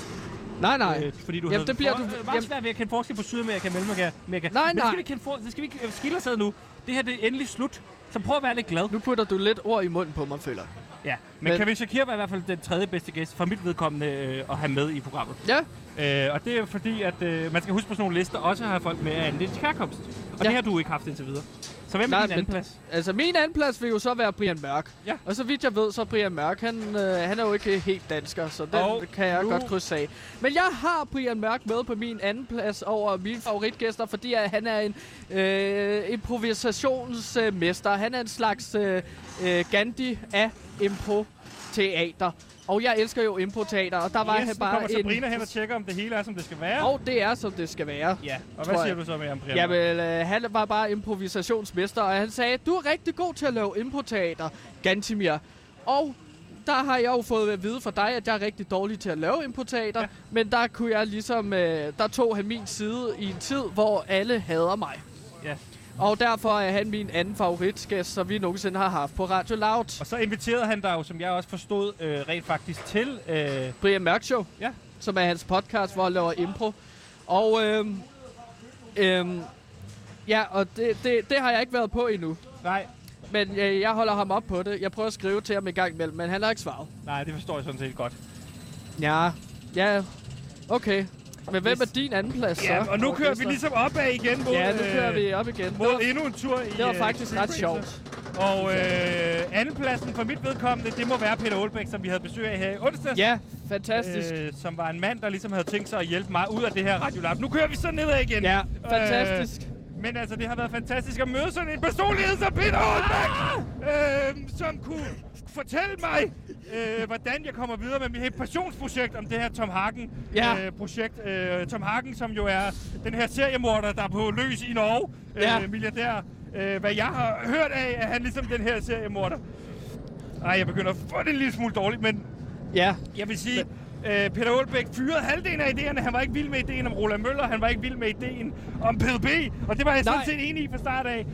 [SPEAKER 2] Nej, nej.
[SPEAKER 1] Øh, fordi du
[SPEAKER 2] Jamen,
[SPEAKER 1] havde
[SPEAKER 2] det bliver du-
[SPEAKER 1] øh, meget
[SPEAKER 2] jamen-
[SPEAKER 1] svært ved at kende forskel på Sydamerika og Mellemamerika. Amerika.
[SPEAKER 2] Nej,
[SPEAKER 1] Men det
[SPEAKER 2] nej.
[SPEAKER 1] skal vi ikke kende for, det skal vi ikke øh, skille os ad nu. Det her det er endelig slut. Så prøv at være lidt glad.
[SPEAKER 2] Nu putter du lidt ord i munden på mig, føler jeg.
[SPEAKER 1] Ja. Men, men
[SPEAKER 2] Men-
[SPEAKER 1] Kevin Shakir var i hvert fald den tredje bedste gæst for mit vedkommende øh, at have med i programmet.
[SPEAKER 2] Ja,
[SPEAKER 1] Øh, og det er fordi, at øh, man skal huske på sådan nogle lister også at have folk med af anden etnisk herkomst. Og ja.
[SPEAKER 2] Ja.
[SPEAKER 1] det har du ikke haft indtil videre. Så hvem er
[SPEAKER 2] Nej,
[SPEAKER 1] din anden
[SPEAKER 2] men-
[SPEAKER 1] plads?
[SPEAKER 2] altså min anden plads vil jo så være Brian Mørk.
[SPEAKER 1] Ja.
[SPEAKER 2] Og så vidt jeg ved, så er Brian Mørk, han, øh, han er jo ikke helt dansker, så den
[SPEAKER 1] Og
[SPEAKER 2] og kan jeg
[SPEAKER 1] nu-
[SPEAKER 2] nu... godt krydse af. Men jeg har Brian Mørk med på min anden plads over mine favoritgæster, fordi at han er en øh, improvisationsmester. Øh, mester. han er en slags øh, øh, Gandhi af impro. teater. Og jeg elsker jo impoteater, og der var
[SPEAKER 1] yes,
[SPEAKER 2] han
[SPEAKER 1] nu kommer
[SPEAKER 2] bare
[SPEAKER 1] Sabrina
[SPEAKER 2] en...
[SPEAKER 1] hen og tjekker, om det hele er, som det skal være.
[SPEAKER 2] Og det er, som det skal være.
[SPEAKER 1] ja, og
[SPEAKER 2] tror
[SPEAKER 1] hvad siger
[SPEAKER 2] jeg.
[SPEAKER 1] du så med om Brian?
[SPEAKER 2] Jamen, øh, han var bare improvisationsmester, og han sagde, du er rigtig god til at lave impoteater, Gantimir. Og der har jeg jo fået at vide fra dig, at jeg er rigtig dårlig til at lave impoteater, ja. men der kunne jeg ligesom, øh, der tog han min side i en tid, hvor alle hader mig.
[SPEAKER 1] Ja.
[SPEAKER 2] Og derfor er han min anden favoritgæst, som vi nogensinde har haft på Radio Loud.
[SPEAKER 1] Og så inviterede han dig jo, som jeg også forstod, øh, rent faktisk til. Øh,
[SPEAKER 2] Brian Mørk Show,
[SPEAKER 1] Ja.
[SPEAKER 2] som er hans podcast, hvor han laver impro. Og øhm, øhm, ja, og det, det, det har jeg ikke været på endnu.
[SPEAKER 1] nej,
[SPEAKER 2] Men øh, jeg holder ham op på det. Jeg prøver at skrive til ham en gang imellem, men han har ikke svaret.
[SPEAKER 1] nej, det forstår jeg sådan set godt.
[SPEAKER 2] Ja, ja, okay. Men hvem er din anden plads så?
[SPEAKER 1] Ja, og nu kører vi
[SPEAKER 2] Borgmester?
[SPEAKER 1] ligesom opad igen mod,
[SPEAKER 2] Ja, nu kører
[SPEAKER 1] øh,
[SPEAKER 2] vi op igen. Det
[SPEAKER 1] mod
[SPEAKER 2] var,
[SPEAKER 1] endnu en tur i
[SPEAKER 2] det var
[SPEAKER 1] øh,
[SPEAKER 2] faktisk ret
[SPEAKER 1] Freebracer.
[SPEAKER 2] sjovt.
[SPEAKER 1] Og øh, andenpladsen for mit vedkommende, det må være Peter Olbæk, som vi havde besøg af her i onsdags.
[SPEAKER 2] Ja, fantastisk.
[SPEAKER 1] Øh, som var en mand, der ligesom havde tænkt sig at hjælpe mig ud af det her radiolab. Nu kører vi så nedad igen.
[SPEAKER 2] Ja, fantastisk.
[SPEAKER 1] Øh, men altså, det har været fantastisk at møde sådan en personlighed som Peter Olbæk, øh, som kunne fortælle mig, øh, hvordan jeg kommer videre med mit helt passionsprojekt om det her Tom Hagen-projekt.
[SPEAKER 2] Ja.
[SPEAKER 1] Øh, projekt. øh, Tom Hagen, som jo er den her seriemorder, der er på løs i Norge, øh,
[SPEAKER 2] Ja.
[SPEAKER 1] milliardær. Øh, hvad jeg har hørt af, er han ligesom den her seriemorder. Ej, jeg begynder at få det en lille smule dårligt, men
[SPEAKER 2] Ja,
[SPEAKER 1] jeg vil sige, øh, Peter Olbæk fyrede halvdelen af idéerne. Han var ikke vild med ideen om Roland Møller, han var ikke vild med ideen om PDB, og det var jeg sådan
[SPEAKER 2] Nej.
[SPEAKER 1] set enig i fra start af.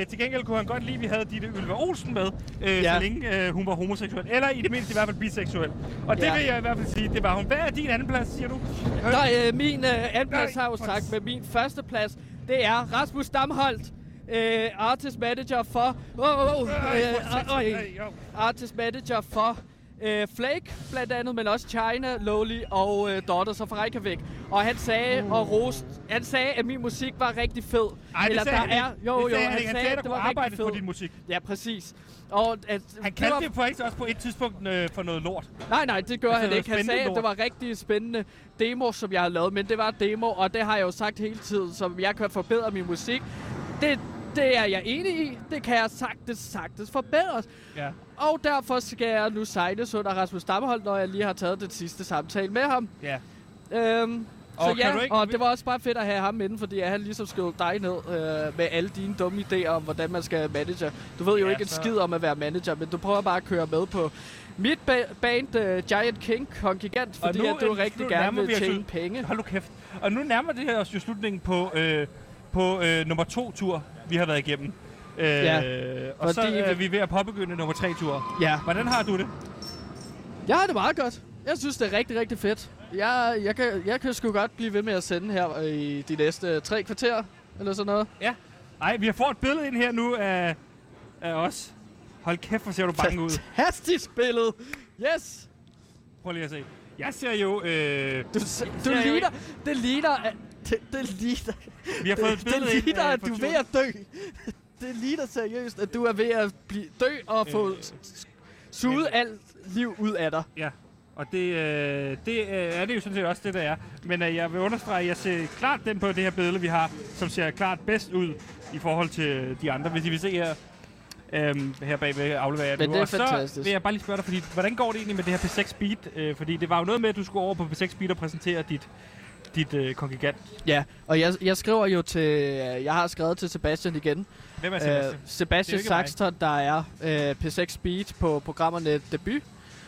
[SPEAKER 1] Øh, til gengæld kunne han godt lide, at vi havde Ditte Ylva Olsen med, øh,
[SPEAKER 2] Ja.
[SPEAKER 1] ja. så længe øh, hun var homoseksuel, eller i det mindste i hvert fald biseksuel. Og det
[SPEAKER 2] Ja.
[SPEAKER 1] vil jeg i hvert fald sige, det var hun. Hvad er din anden plads, siger du? Øh,
[SPEAKER 2] Nej, øh, min øh, andenplads
[SPEAKER 1] Nej,
[SPEAKER 2] har jeg jo
[SPEAKER 1] for
[SPEAKER 2] sagt, men min førsteplads, det er Rasmus Damholdt, øh, artist manager for... Åh, åh, åh, øh,
[SPEAKER 1] Ej,
[SPEAKER 2] øh,
[SPEAKER 1] jo.
[SPEAKER 2] artist manager for øh, Flake, blandt andet, men også China, Lowly og øh, Daughters of Reykjavik. Og han sagde, og rost, han sagde, at min musik var rigtig fed.
[SPEAKER 1] Mm. Ej, det sagde han ikke.
[SPEAKER 2] Jo,
[SPEAKER 1] Det
[SPEAKER 2] jo,
[SPEAKER 1] sagde han
[SPEAKER 2] han
[SPEAKER 1] ikke. Han
[SPEAKER 2] sagde,
[SPEAKER 1] sagde,
[SPEAKER 2] at
[SPEAKER 1] der kunne
[SPEAKER 2] det var rigtig
[SPEAKER 1] arbejdes
[SPEAKER 2] fed.
[SPEAKER 1] på din musik.
[SPEAKER 2] Ja, præcis. Og at,
[SPEAKER 1] Han
[SPEAKER 2] det var
[SPEAKER 1] kaldte det faktisk også på et tidspunkt øh, for noget lort.
[SPEAKER 2] Nej, nej, det gør
[SPEAKER 1] Altså,
[SPEAKER 2] han
[SPEAKER 1] noget
[SPEAKER 2] ikke. Han
[SPEAKER 1] spændende
[SPEAKER 2] sagde, at
[SPEAKER 1] lort.
[SPEAKER 2] det var rigtig spændende demo, som jeg har lavet, men det var demo, og det har jeg jo sagt hele tiden, som jeg kan forbedre min musik. Det, det er jeg enig i. Det kan jeg sagtens, sagtens forbedres.
[SPEAKER 1] Ja.
[SPEAKER 2] Og derfor skal jeg nu sejles under Rasmus Stammehold, når jeg lige har taget den sidste samtale med ham.
[SPEAKER 1] ja.
[SPEAKER 2] Øhm,
[SPEAKER 1] Og
[SPEAKER 2] så
[SPEAKER 1] kan
[SPEAKER 2] ja,
[SPEAKER 1] du ikke-
[SPEAKER 2] og det var også bare fedt at have ham inde, fordi han ligesom skød dig ned øh, med alle dine dumme idéer om, hvordan man skal manager. Du ved jo
[SPEAKER 1] Ja,
[SPEAKER 2] ikke en
[SPEAKER 1] så-
[SPEAKER 2] skid om at være manager, men du prøver bare at køre med på mit ba- band øh, Giant King Kongigant, fordi at du
[SPEAKER 1] øh,
[SPEAKER 2] rigtig
[SPEAKER 1] nu
[SPEAKER 2] gerne
[SPEAKER 1] nærmer vi
[SPEAKER 2] vil
[SPEAKER 1] os
[SPEAKER 2] tjene
[SPEAKER 1] jo-
[SPEAKER 2] penge.
[SPEAKER 1] Hold nu kæft. Og nu nærmer det her os jo slutningen på, øh, på øh, nummer to tur, vi har været igennem. Øh, ja, og så
[SPEAKER 2] fordi
[SPEAKER 1] øh,
[SPEAKER 2] vi-
[SPEAKER 1] er vi ved at påbegynde nummer tre tur.
[SPEAKER 2] Ja.
[SPEAKER 1] Hvordan har du det?
[SPEAKER 2] Jeg har det meget godt. Jeg synes, det er rigtig, rigtig fedt. Jeg, jeg, kan, jeg kan sgu godt blive ved med at sende her øh, i de næste tre kvarter, eller sådan noget.
[SPEAKER 1] Ja. Ej, vi har fået et billede ind her nu af, af os. Hold kæft, hvor ser du bange ud.
[SPEAKER 2] Fantastisk billede! Yes!
[SPEAKER 1] Prøv lige at se. Jeg ser jo... Øh,
[SPEAKER 2] Du, s- du
[SPEAKER 1] ser jo
[SPEAKER 2] ligner, det ligner, at- det, det ligner,
[SPEAKER 1] vi har fået et
[SPEAKER 2] det
[SPEAKER 1] billede ind,
[SPEAKER 2] ligner,
[SPEAKER 1] øh,
[SPEAKER 2] at
[SPEAKER 1] fra
[SPEAKER 2] du er
[SPEAKER 1] turen.
[SPEAKER 2] ved at dø. Det ligner seriøst, at du er ved at blive dø og få
[SPEAKER 1] Øh,
[SPEAKER 2] s- suget alt liv ud af dig.
[SPEAKER 1] Ja, og det, øh, det øh, er det jo sådan set også det, der er. Men øh, jeg vil understrege, at jeg ser klart den på det her billede, vi har, som ser klart bedst ud i forhold til øh, de andre. Hvis I vil se her, øhm, her bagved afleverer jeg
[SPEAKER 2] Men
[SPEAKER 1] nu.
[SPEAKER 2] det er
[SPEAKER 1] og så
[SPEAKER 2] fantastisk.
[SPEAKER 1] vil jeg bare lige spørge dig, fordi, hvordan går det egentlig med det her P6 Speed? Øh, fordi det var jo noget med, at du skulle over på P6 Speed og præsentere dit, dit øh, kongigant.
[SPEAKER 2] Ja, og jeg, jeg skriver jo til, øh, jeg har skrevet til Sebastian igen.
[SPEAKER 1] Hvem er
[SPEAKER 2] Øh,
[SPEAKER 1] Sebastian?
[SPEAKER 2] Sebastian
[SPEAKER 1] Det er jo ikke
[SPEAKER 2] Saxton, der er øh, P6 Speed på programmerne Debut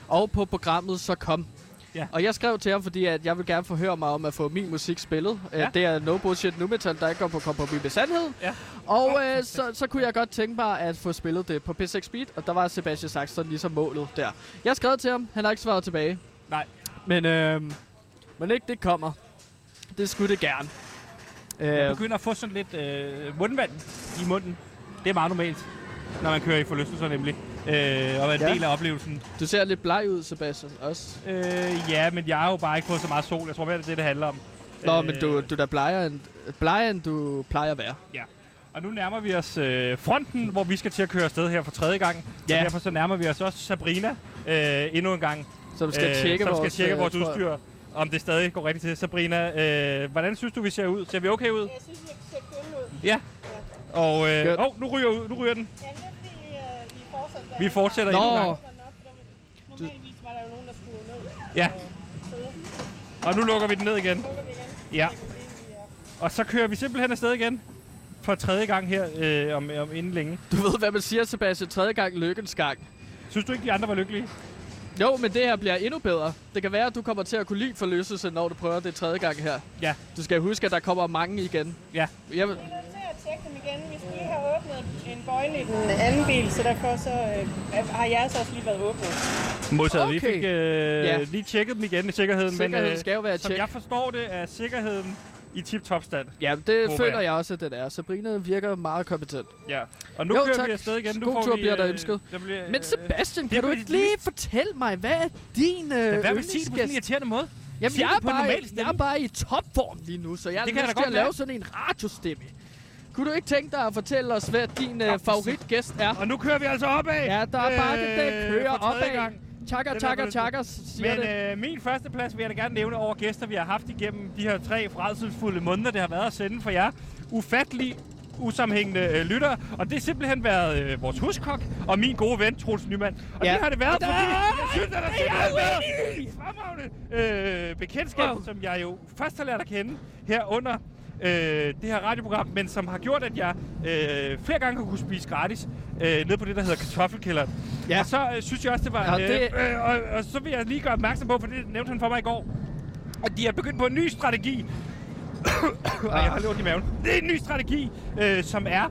[SPEAKER 2] og på programmet Så Kom.
[SPEAKER 1] Ja.
[SPEAKER 2] Og jeg skrev til ham, fordi at jeg vil gerne forhøre mig om at få min musik spillet.
[SPEAKER 1] Ja.
[SPEAKER 2] Ja. Det er No Bullshit Nu Metal, der ikke går på kompromis med sandheden.
[SPEAKER 1] Ja.
[SPEAKER 2] Og øh, så, så kunne jeg godt tænke mig at få spillet det på P6 Speed, og der var Sebastian Saxton ligesom målet der. Jeg skrev til ham, han har ikke svaret tilbage.
[SPEAKER 1] Nej.
[SPEAKER 2] Men, øh,
[SPEAKER 1] øhm,
[SPEAKER 2] men ikke det kommer. Det skulle det gerne.
[SPEAKER 1] Jeg
[SPEAKER 2] Øh,
[SPEAKER 1] begynder at få sådan lidt øh, mundvand i munden. Det er meget normalt, når man kører i forlystelser nemlig. Øh, og er en
[SPEAKER 2] Ja.
[SPEAKER 1] del af oplevelsen.
[SPEAKER 2] du ser lidt bleg ud, Sebastian, også.
[SPEAKER 1] Øh, ja, men jeg har jo bare ikke fået så meget sol. Jeg tror mere, det er det, det handler om. Øh,
[SPEAKER 2] Nå, men du, du er da blejer end, blejer, end du plejer at være.
[SPEAKER 1] Ja. Og nu nærmer vi os øh, fronten, hvor vi skal til at køre afsted her for tredje gang. Ja.
[SPEAKER 2] Ja.
[SPEAKER 1] Og derfor så nærmer vi os også Sabrina øh, endnu en gang.
[SPEAKER 2] Så du skal
[SPEAKER 1] øh,
[SPEAKER 2] tjekke
[SPEAKER 1] som
[SPEAKER 2] vores,
[SPEAKER 1] skal tjekke
[SPEAKER 2] øh,
[SPEAKER 1] vores
[SPEAKER 2] tror jeg.
[SPEAKER 1] udstyr, om det stadig går rigtigt til. Sabrina, øh, hvordan synes du, vi ser ud? Ser vi okay ud?
[SPEAKER 4] Jeg synes, vi ser kønne ud.
[SPEAKER 1] Ja. Og øh,
[SPEAKER 2] Godt.
[SPEAKER 1] oh, nu, ryger, ud- nu ryger den.
[SPEAKER 4] Ja, det er fordi, øh, vi fortsætter.
[SPEAKER 1] Vi fortsætter
[SPEAKER 2] Nå.
[SPEAKER 1] endnu en gang.
[SPEAKER 4] Normalvis var der jo nogen, der skulle ned.
[SPEAKER 1] Ja,
[SPEAKER 4] Så
[SPEAKER 1] og nu lukker vi den ned igen.
[SPEAKER 4] lukker vi den.
[SPEAKER 1] Ja. Og så kører vi simpelthen afsted igen for tredje gang her øh, om, om inden længe.
[SPEAKER 2] Du ved, hvad man siger, Sebastian. Tredje gang lykkens gang.
[SPEAKER 1] Synes du ikke, de andre var lykkelige?
[SPEAKER 2] Jo, men det her bliver endnu bedre. Det kan være, at du kommer til at kunne lide forlystelse, når du prøver det tredje gang her.
[SPEAKER 1] Ja.
[SPEAKER 2] Du skal huske, at der kommer mange igen.
[SPEAKER 1] Ja.
[SPEAKER 2] Jeg,
[SPEAKER 4] Vi er nødt til at tjekke dem igen. Vi skulle lige have åbnet en bøjle i den anden bil, så derfor så, øh, har jeres også lige været åbnet.
[SPEAKER 1] Modtaget. Okay. Vi
[SPEAKER 2] Okay.
[SPEAKER 1] fik øh,
[SPEAKER 2] Ja.
[SPEAKER 1] ja. lige tjekket dem igen i sikkerheden.
[SPEAKER 2] Sikkerheden
[SPEAKER 1] men,
[SPEAKER 2] skal jo være
[SPEAKER 1] øh, Som
[SPEAKER 2] tjek.
[SPEAKER 1] jeg forstår det, er sikkerheden i tip-top stand.
[SPEAKER 2] ja, det
[SPEAKER 1] Håber
[SPEAKER 2] føler
[SPEAKER 1] jeg.
[SPEAKER 2] jeg også, at den er. Sabrina virker meget kompetent.
[SPEAKER 1] Ja. Og nu
[SPEAKER 2] Jo,
[SPEAKER 1] jo, kører
[SPEAKER 2] tak.
[SPEAKER 1] vi afsted igen. Nu
[SPEAKER 2] God tur
[SPEAKER 1] vi,
[SPEAKER 2] bliver der
[SPEAKER 1] øh,
[SPEAKER 2] ønsket.
[SPEAKER 1] Der bliver,
[SPEAKER 2] Men Sebastian,
[SPEAKER 1] det er
[SPEAKER 2] kan du
[SPEAKER 1] fordi,
[SPEAKER 2] ikke
[SPEAKER 1] det er
[SPEAKER 2] lige fortælle mig, hvad er din øh,
[SPEAKER 1] øh, hvad vil sige det på sådan en
[SPEAKER 2] yndlingsgæst?
[SPEAKER 1] irriterende måde?
[SPEAKER 2] Jamen,
[SPEAKER 1] Sig
[SPEAKER 2] jeg
[SPEAKER 1] det
[SPEAKER 2] er,
[SPEAKER 1] på en
[SPEAKER 2] bare,
[SPEAKER 1] normal
[SPEAKER 2] jeg
[SPEAKER 1] stemme.
[SPEAKER 2] er bare i topform lige nu, så jeg har
[SPEAKER 1] Det kan jeg
[SPEAKER 2] lyst
[SPEAKER 1] da
[SPEAKER 2] til at
[SPEAKER 1] godt være.
[SPEAKER 2] lave sådan en radiostemme. Kunne du ikke tænke dig at fortælle os, hvad din øh, favoritgæst er?
[SPEAKER 1] Og nu kører vi altså opad.
[SPEAKER 2] Ja, der er bare det, der
[SPEAKER 1] øh,
[SPEAKER 2] kører
[SPEAKER 1] for tredje
[SPEAKER 2] opad.
[SPEAKER 1] gang.
[SPEAKER 2] Takker,
[SPEAKER 1] Den er
[SPEAKER 2] takker,
[SPEAKER 1] blevet-
[SPEAKER 2] takker, siger det.
[SPEAKER 1] Men øh, min første plads vil jeg da gerne nævne over gæster, vi har haft igennem de her tre fredsfulde måneder, det har været at sende for jer. Ufattelig usammenhængende øh, lytter, og det har simpelthen været øh, vores huskok og min gode ven, Troels Nyman. Og
[SPEAKER 2] Ja.
[SPEAKER 1] ja. det har det været,
[SPEAKER 2] Der-
[SPEAKER 1] fordi jeg synes, at der
[SPEAKER 2] Jeg er
[SPEAKER 1] simpelthen været et fremragende øh, bekendtskab,
[SPEAKER 2] Wow.
[SPEAKER 1] som jeg jo først har lært at kende her under øh, det her radioprogram, men som har gjort, at jeg øh, flere gange har kunne spise gratis øh, nede på det, der hedder kartoffelkælderen.
[SPEAKER 2] Ja.
[SPEAKER 1] Ja. Og så øh, synes jeg også, det var...
[SPEAKER 2] Ja, det-
[SPEAKER 1] Øh, og, og så vil jeg lige gøre opmærksom på, for det nævnte han for mig i går, at de har begyndt på en ny strategi. Ej, jeg har lidt ondt i maven. Det er en ny strategi, øh, som er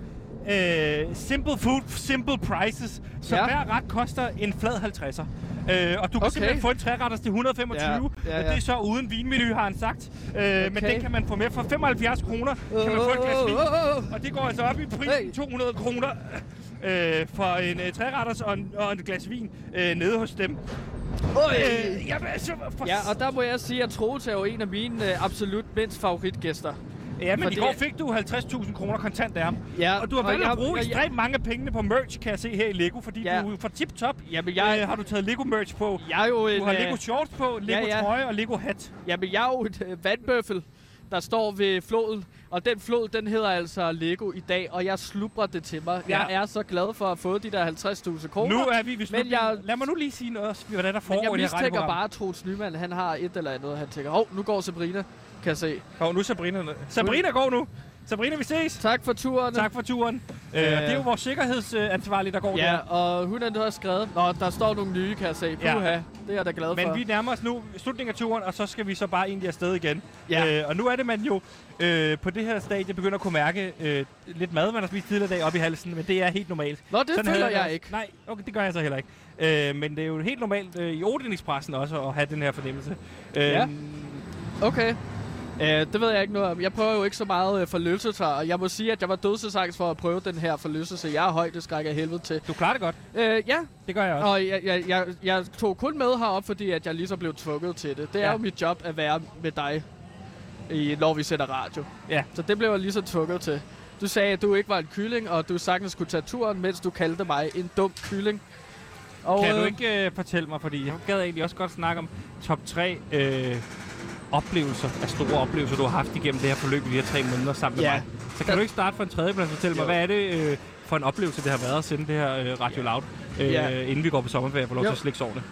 [SPEAKER 1] øh, simple food, simple prices, som
[SPEAKER 2] Ja.
[SPEAKER 1] ja. hver ret koster en flad 50'er. Øh, og du kan
[SPEAKER 2] Okay.
[SPEAKER 1] okay. simpelthen få en træretters til 125,
[SPEAKER 2] Ja,
[SPEAKER 1] ja,
[SPEAKER 2] ja,
[SPEAKER 1] ja,
[SPEAKER 2] ja.
[SPEAKER 1] og det er så uden vinmenu, har han sagt. Øh, Men
[SPEAKER 2] Okay.
[SPEAKER 1] det kan man få med for 75 kroner, kan man få et glas vin.
[SPEAKER 2] Åh, åh, åh.
[SPEAKER 1] Og det går altså op i prisen,
[SPEAKER 2] Hey.
[SPEAKER 1] 200 kroner øh, for en øh, træretters og en, og en glas vin øh, nede hos dem.
[SPEAKER 2] Øj.
[SPEAKER 1] Øh, jamen, altså, for...
[SPEAKER 2] Ja, og der må jeg sige, at Troels er jo en af mine øh, absolut mindst favoritgæster.
[SPEAKER 1] ja, men
[SPEAKER 2] fordi-
[SPEAKER 1] i går fik du 50.000 kroner kontant af ham.
[SPEAKER 2] Ja,
[SPEAKER 1] og du har
[SPEAKER 2] og
[SPEAKER 1] valgt
[SPEAKER 2] jeg-
[SPEAKER 1] at bruge
[SPEAKER 2] jeg-
[SPEAKER 1] ekstremt mange af pengene på merch, kan jeg se her i Lego, fordi
[SPEAKER 2] Ja.
[SPEAKER 1] ja. du er fra tip-top.
[SPEAKER 2] Jamen, jeg-
[SPEAKER 1] øh, har du taget Lego-merch på.
[SPEAKER 2] Jeg er jo en,
[SPEAKER 1] Du har
[SPEAKER 2] øh,
[SPEAKER 1] Lego shorts på, Lego
[SPEAKER 2] ja.
[SPEAKER 1] trøje og Lego hat.
[SPEAKER 2] jamen, jeg er jo et øh, vandbøffel, der står ved floden. Og den flod, den hedder altså Lego i dag, og jeg slubrer det til mig.
[SPEAKER 1] Ja.
[SPEAKER 2] Jeg er så glad for at få de der 50.000 kroner.
[SPEAKER 1] Nu er vi ved slutningen.
[SPEAKER 2] Oh, jeg-
[SPEAKER 1] Jeg... Lad mig nu lige sige noget, om, hvordan der
[SPEAKER 2] Men
[SPEAKER 1] foregår
[SPEAKER 2] jeg
[SPEAKER 1] i det her
[SPEAKER 2] mistænker
[SPEAKER 1] radioprogram.
[SPEAKER 2] bare, at Troels Nyman, han har et eller andet. Han tænker, hov, nu går Sabrina, kan jeg se.
[SPEAKER 1] Hov, nu er Sabrina. ned. Sabrina går nu. Sabrina, vi ses.
[SPEAKER 2] Tak for turen.
[SPEAKER 1] Tak for turen. Øh, og det er jo vores sikkerhedsansvarlige, der går
[SPEAKER 2] Ja,
[SPEAKER 1] der.
[SPEAKER 2] og hun har også skrevet, Nå, der står nogle nye, kan jeg se.
[SPEAKER 1] Ja.
[SPEAKER 2] Puha, det er jeg da glad for.
[SPEAKER 1] Men vi nærmer os nu slutningen af turen, og så skal vi så bare egentlig afsted igen.
[SPEAKER 2] Ja.
[SPEAKER 1] Øh, og nu er det, man jo øh, på det her stadie begynder at kunne mærke øh, lidt mad, man har spist tidligere i dag op i halsen, men det er helt normalt.
[SPEAKER 2] Nå, det føler
[SPEAKER 1] havde
[SPEAKER 2] jeg
[SPEAKER 1] også-
[SPEAKER 2] ikke.
[SPEAKER 1] Nej, okay, det gør jeg så heller ikke. Øh, men det er jo helt normalt øh, i ordningspressen også at have den her fornemmelse. Øh,
[SPEAKER 2] Ja. Okay. Øh, det ved jeg ikke noget om. Jeg prøver jo ikke så meget øh, forlystelser, og jeg må sige, at jeg var dødsesangst for at prøve den her forlystelse. Jeg er højdeskræk af helvede til.
[SPEAKER 1] Du klarer det godt.
[SPEAKER 2] Øh, ja,
[SPEAKER 1] Det gør jeg også.
[SPEAKER 2] og jeg, jeg, jeg, jeg tog kun med herop, fordi at jeg ligesom blev tvunget til det. Det er
[SPEAKER 1] Ja.
[SPEAKER 2] jo mit job at være med dig, i, når vi sender radio.
[SPEAKER 1] Ja.
[SPEAKER 2] Så det blev jeg ligesom tvunget til. Du sagde, at du ikke var en kylling, og du sagtens kunne tage turen, mens du kaldte mig en dum kylling. Og,
[SPEAKER 1] Kan du
[SPEAKER 2] øh,
[SPEAKER 1] ikke øh, fortælle mig, fordi jeg gad egentlig også godt snakke om top 3 øh, oplevelser, af store oplevelser, du har haft igennem det her forløb i de her tre måneder sammen med
[SPEAKER 2] Ja.
[SPEAKER 1] mig. Så kan du ikke starte fra en tredjeplads og fortælle
[SPEAKER 2] Jo.
[SPEAKER 1] mig, hvad er det øh, for en oplevelse, det har været at sende det her øh, Radio Loud, øh,
[SPEAKER 2] Ja.
[SPEAKER 1] inden vi går på sommerferie og får lov
[SPEAKER 2] Jo.
[SPEAKER 1] til at slikke sårene?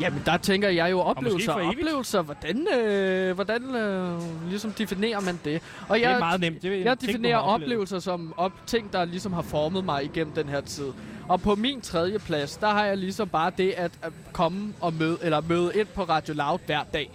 [SPEAKER 2] Jamen, der tænker jeg jo oplevelser.
[SPEAKER 1] for evigt.
[SPEAKER 2] oplevelser, hvordan, øh, hvordan øh, ligesom definerer man det? Og
[SPEAKER 1] Det er meget nemt. Det er en
[SPEAKER 2] jeg
[SPEAKER 1] ting, du
[SPEAKER 2] definerer
[SPEAKER 1] har oplevet.
[SPEAKER 2] oplevelser som op, ting, der ligesom har formet mig igennem den her tid. Og på min tredje plads, der har jeg ligesom bare det at øh, komme og møde, eller møde ind på Radio Loud hver dag.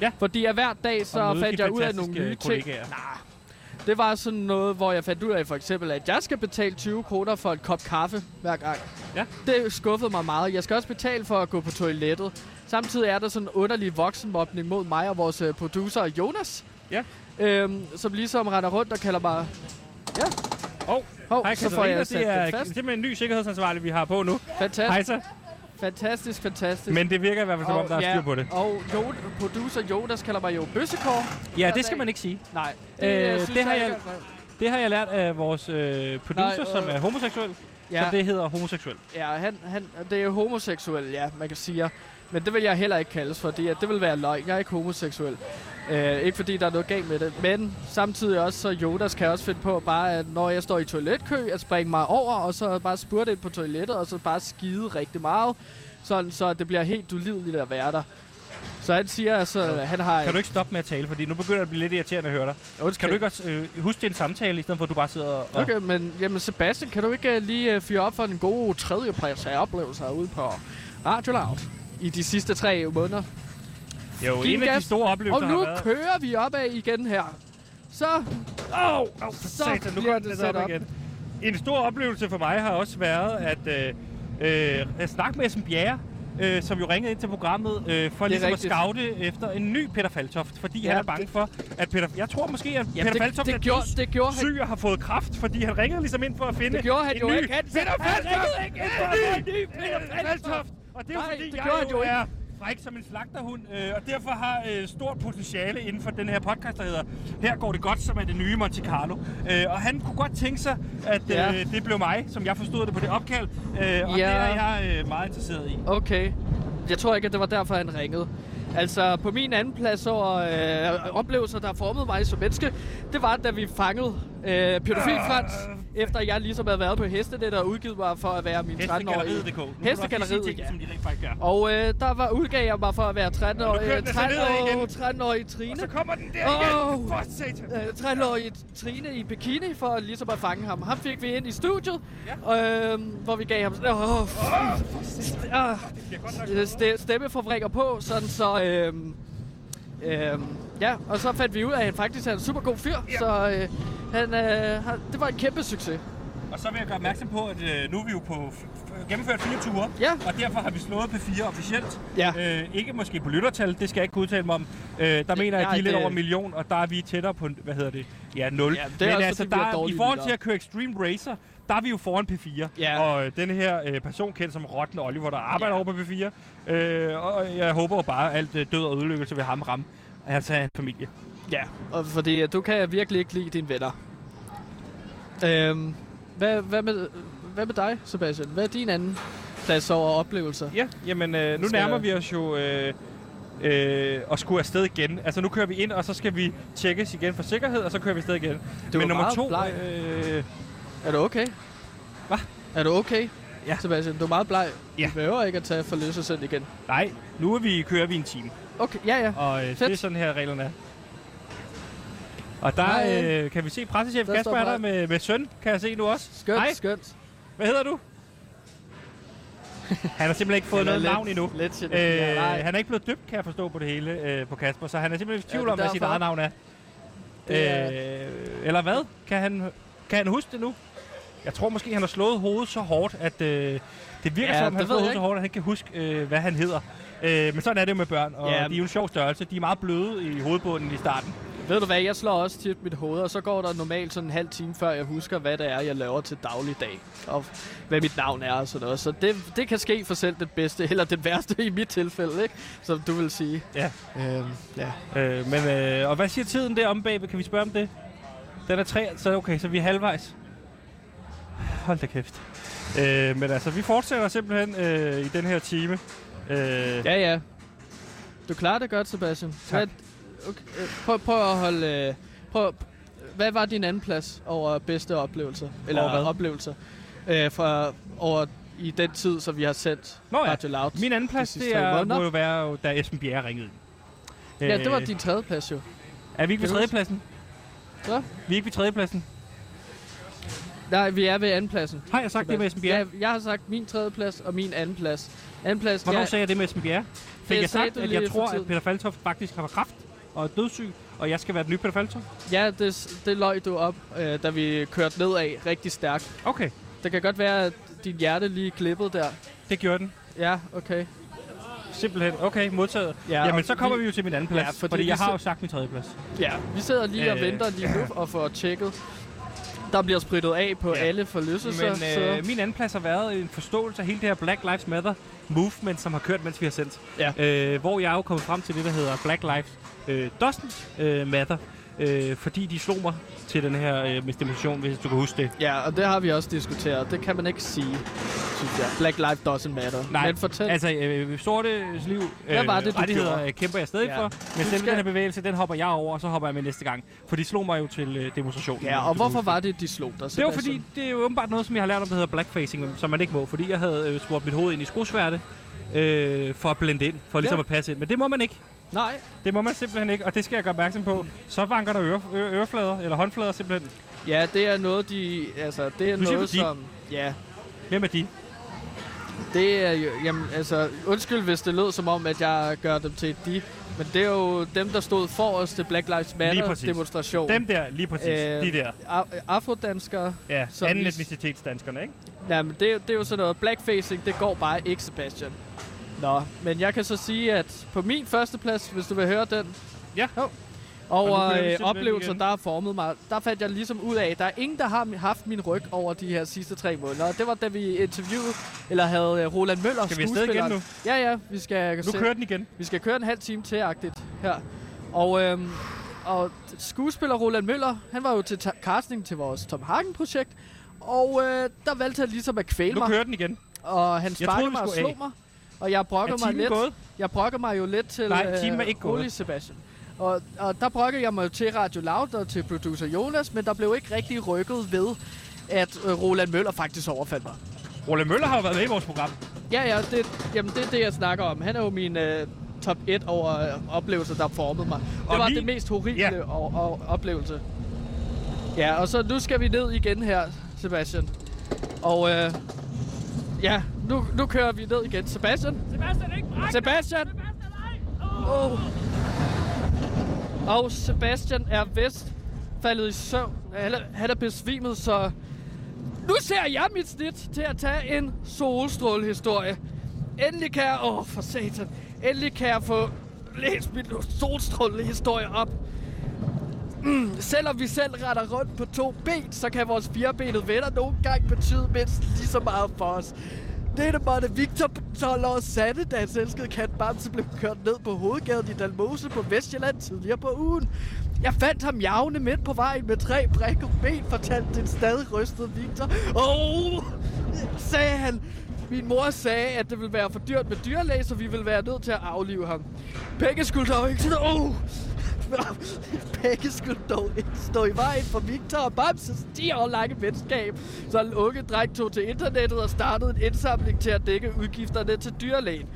[SPEAKER 1] Ja.
[SPEAKER 2] Fordi at hver dag, så
[SPEAKER 1] Og møde
[SPEAKER 2] fandt
[SPEAKER 1] de
[SPEAKER 2] jeg ud af nogle
[SPEAKER 1] fantastiske
[SPEAKER 2] nye ting.
[SPEAKER 1] kollegaer.
[SPEAKER 2] Nah, det var sådan noget, hvor jeg fandt ud af for eksempel, at jeg skal betale 20 kroner for en kop kaffe hver gang.
[SPEAKER 1] Ja.
[SPEAKER 2] Det skuffede mig meget. Jeg skal også betale for at gå på toilettet. Samtidig er der sådan en underlig voksenmobning mod mig og vores øh, producer Jonas,
[SPEAKER 1] Ja.
[SPEAKER 2] øhm, som ligesom render rundt og kalder mig... Ja,
[SPEAKER 1] Og
[SPEAKER 2] hov,
[SPEAKER 1] hej
[SPEAKER 2] så
[SPEAKER 1] Katarina,
[SPEAKER 2] får jeg
[SPEAKER 1] det
[SPEAKER 2] sat
[SPEAKER 1] er
[SPEAKER 2] den fast.
[SPEAKER 1] simpelthen en ny sikkerhedsansvarlig, vi har på nu. Hej
[SPEAKER 2] Fantastisk,
[SPEAKER 1] så.
[SPEAKER 2] fantastisk, fantastisk.
[SPEAKER 1] Men det virker i hvert fald, som om der er styr på det.
[SPEAKER 2] Og jo, producer Jonas kalder mig jo bøssekår.
[SPEAKER 1] Ja,
[SPEAKER 2] dag.
[SPEAKER 1] det skal man ikke sige.
[SPEAKER 2] Nej,
[SPEAKER 1] Øh,
[SPEAKER 2] øh,
[SPEAKER 1] det
[SPEAKER 2] synes
[SPEAKER 1] har
[SPEAKER 2] ikke
[SPEAKER 1] jeg-
[SPEAKER 2] er-
[SPEAKER 1] Det har jeg lært af vores øh, producer,
[SPEAKER 2] Nej, øh.
[SPEAKER 1] som er homoseksuel.
[SPEAKER 2] Ja.
[SPEAKER 1] Så det hedder homoseksuel.
[SPEAKER 2] Ja, han, han, det er homoseksuel, ja, man kan sige. Men det vil jeg heller ikke kaldes, fordi at det vil være løgn. Jeg er ikke homoseksuel. Øh, ikke fordi der er noget galt med det. Men samtidig også, så Jonas kan også finde på bare, at når jeg står i toiletkø, at springe mig over, og så bare spurte ind på toilettet, og så bare skide rigtig meget. Sådan, så det bliver helt ulideligt at være der. Så han siger, altså, at han har...
[SPEAKER 1] Kan du ikke stoppe med at tale, fordi nu begynder det at blive lidt irriterende at høre dig.
[SPEAKER 2] Undskyld.
[SPEAKER 1] Kan du ikke også øh, huske det er en samtale, i stedet for at du bare sidder og...
[SPEAKER 2] Okay, men jamen Sebastian, kan du ikke øh, lige øh, fyre op for den gode tredjeplads af oplevelser ude på Radio Loud i de sidste tre måneder?
[SPEAKER 1] Jo,
[SPEAKER 2] Giv
[SPEAKER 1] en af de
[SPEAKER 2] gas.
[SPEAKER 1] store oplevelser
[SPEAKER 2] Og nu
[SPEAKER 1] har været...
[SPEAKER 2] kører vi opad igen her. Så
[SPEAKER 1] Åh, oh, oh, satan, nu
[SPEAKER 2] bliver
[SPEAKER 1] går den
[SPEAKER 2] det
[SPEAKER 1] lidt
[SPEAKER 2] sat
[SPEAKER 1] op,
[SPEAKER 2] op.
[SPEAKER 1] igen. En stor oplevelse for mig har også været at, øh, øh, at snakke med Esben Bjerre, øh, som jo ringede ind til programmet, øh, for ligesom
[SPEAKER 2] rigtigt.
[SPEAKER 1] at scoute efter en ny Peter Faltoft, fordi
[SPEAKER 2] Ja,
[SPEAKER 1] han er bange
[SPEAKER 2] det-
[SPEAKER 1] for, at Peter... Jeg tror måske, at Peter
[SPEAKER 2] det,
[SPEAKER 1] Faltoft
[SPEAKER 2] det,
[SPEAKER 1] er
[SPEAKER 2] det, gjorde, det gjorde han.
[SPEAKER 1] syg og har fået kraft, fordi han ringede ligesom ind for at finde
[SPEAKER 2] Det gjorde han
[SPEAKER 1] en
[SPEAKER 2] jo
[SPEAKER 1] ny
[SPEAKER 2] ikke. Han sagde,
[SPEAKER 1] Peter
[SPEAKER 2] han ringede
[SPEAKER 1] Faltoft!
[SPEAKER 2] ikke ind for at
[SPEAKER 1] En
[SPEAKER 2] få en ny
[SPEAKER 1] ny
[SPEAKER 2] Peter
[SPEAKER 1] Peter Faltoft! Og det er jo
[SPEAKER 2] Nej,
[SPEAKER 1] fordi,
[SPEAKER 2] det
[SPEAKER 1] jeg
[SPEAKER 2] gjorde han
[SPEAKER 1] jo
[SPEAKER 2] jo ikke.
[SPEAKER 1] er fræk som en slagterhund, øh, og derfor har øh, stort potentiale inden for den her podcast, der hedder Her går det godt, som er det nye Monte Carlo. Øh, og han kunne godt tænke sig, at øh,
[SPEAKER 2] Ja.
[SPEAKER 1] det blev mig, som jeg forstod det på det opkald, øh, og ja. det
[SPEAKER 2] Ja.
[SPEAKER 1] er jeg øh, meget interesseret i.
[SPEAKER 2] Okay. Jeg tror ikke, at det var derfor, han ringede. Altså, på min anden plads over øh, oplevelser, der har formet mig som menneske, det var, da vi fangede øh, pædofil Frans, efter jeg ligesom havde været på hestenet og udgivet mig for at være min 13-årige...
[SPEAKER 1] Hestegalleriet.dk. Nu kan du også lige sige
[SPEAKER 2] Hestegalleriet,
[SPEAKER 1] ting,
[SPEAKER 2] ja.
[SPEAKER 1] som de rent faktisk gør.
[SPEAKER 2] Og øh, der var, udgav jeg mig for at være
[SPEAKER 1] Og nu
[SPEAKER 2] 13-årig,
[SPEAKER 1] kører den altså nedad igen.
[SPEAKER 2] 13-årig, 13-årig Trine.
[SPEAKER 1] Og så kommer den der
[SPEAKER 2] Åh.
[SPEAKER 1] igen! For satan!
[SPEAKER 2] øh, trælårige Trine i bikini for ligesom at fange ham. Ham fik vi ind i studiet, ja. øh, hvor vi gav ham sådan, åh, oh, oh, st- stemmeforvrækker på, sådan så... Øh, øh, ja, og så fandt vi ud af, at han faktisk er en super god fyr, ja. så øh, han, øh, har, det var en kæmpe succes.
[SPEAKER 1] Og så vil jeg gøre opmærksom på, at øh, nu er vi jo på f- f- gennemført fire ture,
[SPEAKER 2] Ja.
[SPEAKER 1] og derfor har vi slået P4 officielt.
[SPEAKER 2] Ja.
[SPEAKER 1] Øh, ikke måske på lyttertal, det skal jeg ikke kunne udtale mig om. Øh, der mener jeg, at
[SPEAKER 2] nej,
[SPEAKER 1] de er lidt
[SPEAKER 2] det-
[SPEAKER 1] over en million, og der er vi tættere på, hvad hedder det, ja, 0.
[SPEAKER 2] Ja, det er også, fordi vi har
[SPEAKER 1] der, i
[SPEAKER 2] dårlige
[SPEAKER 1] forhold til
[SPEAKER 2] lyttere.
[SPEAKER 1] at køre Extreme Racer, der er vi jo foran P4.
[SPEAKER 2] Ja.
[SPEAKER 1] Og øh, den her øh, person kendt som Rotten Oliver, der arbejder
[SPEAKER 2] Ja.
[SPEAKER 1] over på P4. Øh, og jeg håber jo bare, at alt øh, død og ødelæggelse vil ham ramme. Altså hans familie.
[SPEAKER 2] Ja, og fordi øh, du kan virkelig ikke lide dine venner. Øhm, hvad, hvad, med, hvad med dig, Sebastian? Hvad er din anden plads over oplevelser?
[SPEAKER 1] Ja, jamen øh, nu
[SPEAKER 2] Skal-
[SPEAKER 1] nærmer vi os jo øh, øh, at skulle afsted igen. Altså nu kører vi ind, og så skal vi tjekkes igen for sikkerhed, og så kører vi afsted igen.
[SPEAKER 2] var
[SPEAKER 1] Men nummer
[SPEAKER 2] meget
[SPEAKER 1] to...
[SPEAKER 2] bleg.
[SPEAKER 1] Øh,
[SPEAKER 2] Er du okay?
[SPEAKER 1] Hva?
[SPEAKER 2] Er du okay?
[SPEAKER 1] Ja.
[SPEAKER 2] Sebastian, du er meget bleg.
[SPEAKER 1] Ja.
[SPEAKER 2] Du behøver ikke at tage for løs og send igen.
[SPEAKER 1] nej, nu er vi, kører vi en time,
[SPEAKER 2] Okay, ja, ja.
[SPEAKER 1] og øh, det
[SPEAKER 2] Fedt.
[SPEAKER 1] er sådan her reglerne er. Og der
[SPEAKER 2] Hej.
[SPEAKER 1] øh, kan vi se pressechef
[SPEAKER 2] Der
[SPEAKER 1] Kasper
[SPEAKER 2] står
[SPEAKER 1] er der
[SPEAKER 2] Mark.
[SPEAKER 1] med, med søn, kan jeg se nu også.
[SPEAKER 2] Skønt,
[SPEAKER 1] Hej,
[SPEAKER 2] skønt.
[SPEAKER 1] hvad hedder du? Han har simpelthen ikke fået noget navn endnu.
[SPEAKER 2] Lidt øh,
[SPEAKER 1] Øh,
[SPEAKER 2] ja,
[SPEAKER 1] han er ikke blevet døbt, kan jeg forstå på det hele, øh, på Kasper, så han er simpelthen i
[SPEAKER 2] Ja,
[SPEAKER 1] tvivl
[SPEAKER 2] det er
[SPEAKER 1] om, hvad sit
[SPEAKER 2] derfor.
[SPEAKER 1] eget navn er.
[SPEAKER 2] Det
[SPEAKER 1] Øh, eller hvad? Kan han, kan han huske det nu? Jeg tror måske, han har slået hovedet så hårdt, at øh, det virker
[SPEAKER 2] Ja,
[SPEAKER 1] ja, som,
[SPEAKER 2] det
[SPEAKER 1] om han slår
[SPEAKER 2] ved jeg
[SPEAKER 1] hovedet
[SPEAKER 2] ikke.
[SPEAKER 1] så hårdt, at han ikke kan huske, øh, hvad han hedder. Øh, men sådan er det jo med børn, og
[SPEAKER 2] Ja.
[SPEAKER 1] de er jo en sjov størrelse. De er meget bløde i hovedbunden i starten.
[SPEAKER 2] Ved du hvad, jeg slår også tit mit hoved, og så går der normalt sådan en halv time, før jeg husker, hvad det er, jeg laver til dagligdag. Og hvad mit navn er og sådan noget. Så det, det kan ske for selv det bedste, eller det værste i mit tilfælde, ikke? Som du vil sige.
[SPEAKER 1] Ja.
[SPEAKER 2] Øhm, ja.
[SPEAKER 1] Øh, men, øh, og hvad siger tiden der om, baby? Kan vi spørge om det? Den er tre, så okay, så vi er halvvejs. Hold da kæft. Øh, men altså, vi fortsætter simpelthen øh, i den her time. Øh, ja.
[SPEAKER 2] Ja, ja. Du klarer det godt, Sebastian.
[SPEAKER 1] Tak.
[SPEAKER 2] Hvad, okay, øh, prøv, prøv at holde... øh, Prøv, hvad var din anden plads over bedste oplevelser? Eller
[SPEAKER 1] Over hvad?
[SPEAKER 2] oplevelser? Øh, fra, over i den tid, som vi har sendt
[SPEAKER 1] Nå ja,
[SPEAKER 2] Radio Loud.
[SPEAKER 1] Min anden plads,
[SPEAKER 2] sidste
[SPEAKER 1] det
[SPEAKER 2] tre
[SPEAKER 1] er,
[SPEAKER 2] måneder.
[SPEAKER 1] må jo være, jo, da Esben Bjerre ringede. ind. Øh,
[SPEAKER 2] ja, det var din tredje plads jo.
[SPEAKER 1] Er vi ikke ved
[SPEAKER 2] det var-
[SPEAKER 1] tredjepladsen?
[SPEAKER 2] Hvad?
[SPEAKER 1] Vi er ikke ved tredjepladsen.
[SPEAKER 2] Nej, vi er ved anden pladsen.
[SPEAKER 1] Har jeg sagt det med Esben Bjerre?
[SPEAKER 2] Ja, jeg har sagt min tredje plads og min anden plads. Anden plads,
[SPEAKER 1] Hvornår
[SPEAKER 2] ja,
[SPEAKER 1] sagde jeg det med Esben Bjerre? Fik
[SPEAKER 2] Det
[SPEAKER 1] jeg
[SPEAKER 2] sagde
[SPEAKER 1] sagt,
[SPEAKER 2] du
[SPEAKER 1] at
[SPEAKER 2] lige
[SPEAKER 1] jeg
[SPEAKER 2] for
[SPEAKER 1] tror, at
[SPEAKER 2] tiden.
[SPEAKER 1] Peter Faltoft faktisk har kræft og er dødssyg, og jeg skal være den nye Peter Faltoft?
[SPEAKER 2] ja det, det løg du op, øh, da vi kørte nedad rigtig stærkt.
[SPEAKER 1] Okay,
[SPEAKER 2] Det kan godt være, at din hjerte lige glippede der.
[SPEAKER 1] det gjorde den.
[SPEAKER 2] Ja, okay.
[SPEAKER 1] Simpelthen. Okay, modtaget.
[SPEAKER 2] Ja,
[SPEAKER 1] Ja, Jamen,
[SPEAKER 2] og
[SPEAKER 1] så kommer
[SPEAKER 2] vi-
[SPEAKER 1] vi jo til min anden plads,
[SPEAKER 2] Ja,
[SPEAKER 1] ja,
[SPEAKER 2] fordi
[SPEAKER 1] fordi, fordi
[SPEAKER 2] vi
[SPEAKER 1] jeg har
[SPEAKER 2] så-
[SPEAKER 1] jo sagt min tredje plads.
[SPEAKER 2] Ja, vi sidder lige og
[SPEAKER 1] Øh,
[SPEAKER 2] venter lige nu og får tjekket. Der bliver sprittet af på
[SPEAKER 1] Ja.
[SPEAKER 2] alle forlystelser.
[SPEAKER 1] Men øh,
[SPEAKER 2] så,
[SPEAKER 1] min anden plads har været en forståelse af hele det her Black Lives Matter movement, som har kørt, mens vi har sendt.
[SPEAKER 2] Ja.
[SPEAKER 1] Øh, hvor jeg er jo kommet frem til det, der hedder Black Lives øh, Doesn't øh, Matter. øh, fordi de slog mig til den her øh, estimation, hvis du kan huske det.
[SPEAKER 2] Ja, og det har vi også diskuteret. Det kan man ikke sige, synes jeg. Black life doesn't matter. Men fortæl.
[SPEAKER 1] altså øh, sorte liv,
[SPEAKER 2] Hvad var det, du
[SPEAKER 1] rettigheder
[SPEAKER 2] gjorde?
[SPEAKER 1] øh, kæmper jeg stadig
[SPEAKER 2] Ja.
[SPEAKER 1] ja. for, men selve
[SPEAKER 2] skal-
[SPEAKER 1] den her bevægelse, den hopper jeg over, og så hopper jeg med næste gang. For de slog mig jo til øh, demonstrationen.
[SPEAKER 2] Ja, og hvorfor var det, de slog dig?
[SPEAKER 1] Det var
[SPEAKER 2] Sebastian?
[SPEAKER 1] fordi, det er jo åbenbart noget, som jeg har lært om, der hedder blackfacing, som man ikke må, fordi jeg havde øh, spurgt mit hoved ind i skosværte øh, for at blende ind, for ligesom
[SPEAKER 2] Ja.
[SPEAKER 1] ja. at passe ind. Men det må man ikke.
[SPEAKER 2] Nej.
[SPEAKER 1] Det må man simpelthen ikke, og det skal jeg gøre opmærksom på. Så vanker der øre, øre, øreflader, eller håndflader simpelthen.
[SPEAKER 2] Ja, det er noget, de... Altså, det er
[SPEAKER 1] Du siger
[SPEAKER 2] noget,
[SPEAKER 1] fordi.
[SPEAKER 2] som... Ja,
[SPEAKER 1] Hvem er de?
[SPEAKER 2] det er jo... Jamen, altså, undskyld, hvis det lød som om, at jeg gør dem til et de. Men det er jo dem, der stod for os til Black Lives
[SPEAKER 1] præcis.
[SPEAKER 2] Matter-demonstration.
[SPEAKER 1] Dem der, lige præcis.
[SPEAKER 2] Øh,
[SPEAKER 1] Øh, de der.
[SPEAKER 2] Af- afrodanskere.
[SPEAKER 1] Ja,
[SPEAKER 2] som
[SPEAKER 1] anden
[SPEAKER 2] vi-
[SPEAKER 1] etnicitetsdanskerne, ikke?
[SPEAKER 2] Jamen, det, er- det er jo sådan noget. Blackfacing, det går bare ikke, Sebastian. Nå, men jeg kan så sige, at på min førsteplads, hvis du vil høre den,
[SPEAKER 1] Ja.
[SPEAKER 2] over
[SPEAKER 1] Og nu bliver vi
[SPEAKER 2] øh,
[SPEAKER 1] simpelthen
[SPEAKER 2] oplevelser,
[SPEAKER 1] igen.
[SPEAKER 2] der har formet mig, der fandt jeg ligesom ud af, at der er ingen, der har mi- haft min ryg over de her sidste tre måneder. Og Det var da vi interviewede, eller havde øh, Roland Møller,
[SPEAKER 1] Skal vi afsted igen
[SPEAKER 2] skuespilleren. Ja, ja, vi skal, øh,
[SPEAKER 1] Nu kører den igen.
[SPEAKER 2] vi skal køre en halv time til-agtigt her. Og, øhm, og skuespiller Roland Møller, han var jo til ta- casting til vores Tom Hagen-projekt, og øh, der valgte han ligesom at kvæle
[SPEAKER 1] Nu
[SPEAKER 2] mig,
[SPEAKER 1] kører den igen.
[SPEAKER 2] og han sparkede
[SPEAKER 1] troede, vi
[SPEAKER 2] mig og
[SPEAKER 1] skulle
[SPEAKER 2] slog
[SPEAKER 1] af.
[SPEAKER 2] mig, og jeg brokkede
[SPEAKER 1] Er
[SPEAKER 2] mig
[SPEAKER 1] timen
[SPEAKER 2] lidt.
[SPEAKER 1] gået?
[SPEAKER 2] Jeg brokker mig jo lidt til
[SPEAKER 1] Nej, timen er ikke gået.
[SPEAKER 2] rolig Sebastian. Og, og der brokkede jeg mig jo til Radio Loud og til producer Jonas, men der blev ikke rigtig rykket ved, at øh, Roland Møller faktisk overfaldt mig.
[SPEAKER 1] Roland Møller har jo været med i vores program.
[SPEAKER 2] Ja, ja, det, jamen, det er det, jeg snakker om. Han er jo min øh, top 1 over øh, oplevelser, der formede mig. Det
[SPEAKER 1] Og
[SPEAKER 2] var
[SPEAKER 1] min-
[SPEAKER 2] det mest horrible
[SPEAKER 1] Ja.
[SPEAKER 2] og, og, oplevelse. Ja, og så nu skal vi ned igen her, Sebastian. Og øh, ja, nu, nu kører vi ned igen. Sebastian?
[SPEAKER 4] Sebastian, ikke bræk
[SPEAKER 2] Sebastian! Oh. Og Sebastian er vist faldet i søvn. Han er, han er besvimet, så... Nu ser jeg mit snit til at tage en solstrålehistorie. Endelig kan jeg... Åh, oh, for satan. Endelig kan jeg få læst min solstrålehistorie op. Mm, selvom vi selv retter rundt på to ben, så kan vores firebenede venner nogle gange betyde mindst lige så meget for os. Det er det måtte Victor på 12 år sande, da hans elskede kat Bamse blev kørt ned på hovedgaden i Dalmose på Vestjylland tidligere på ugen. Jeg fandt ham javne midt på vejen med tre brækket ben, fortalte den stadig rystede Victor. Åh, oh, sagde han. Min mor sagde, at det ville være for dyrt med dyrlæge, så vi ville være nødt til at aflive ham. Begge skulle dog ikke... Åh, oh, Begge skulle dog ikke stå i vejen for Victor og Bamses 10 år lange venskab, så en unge dreng tog til internettet og startede en indsamling til at dække udgifterne til dyrlægen.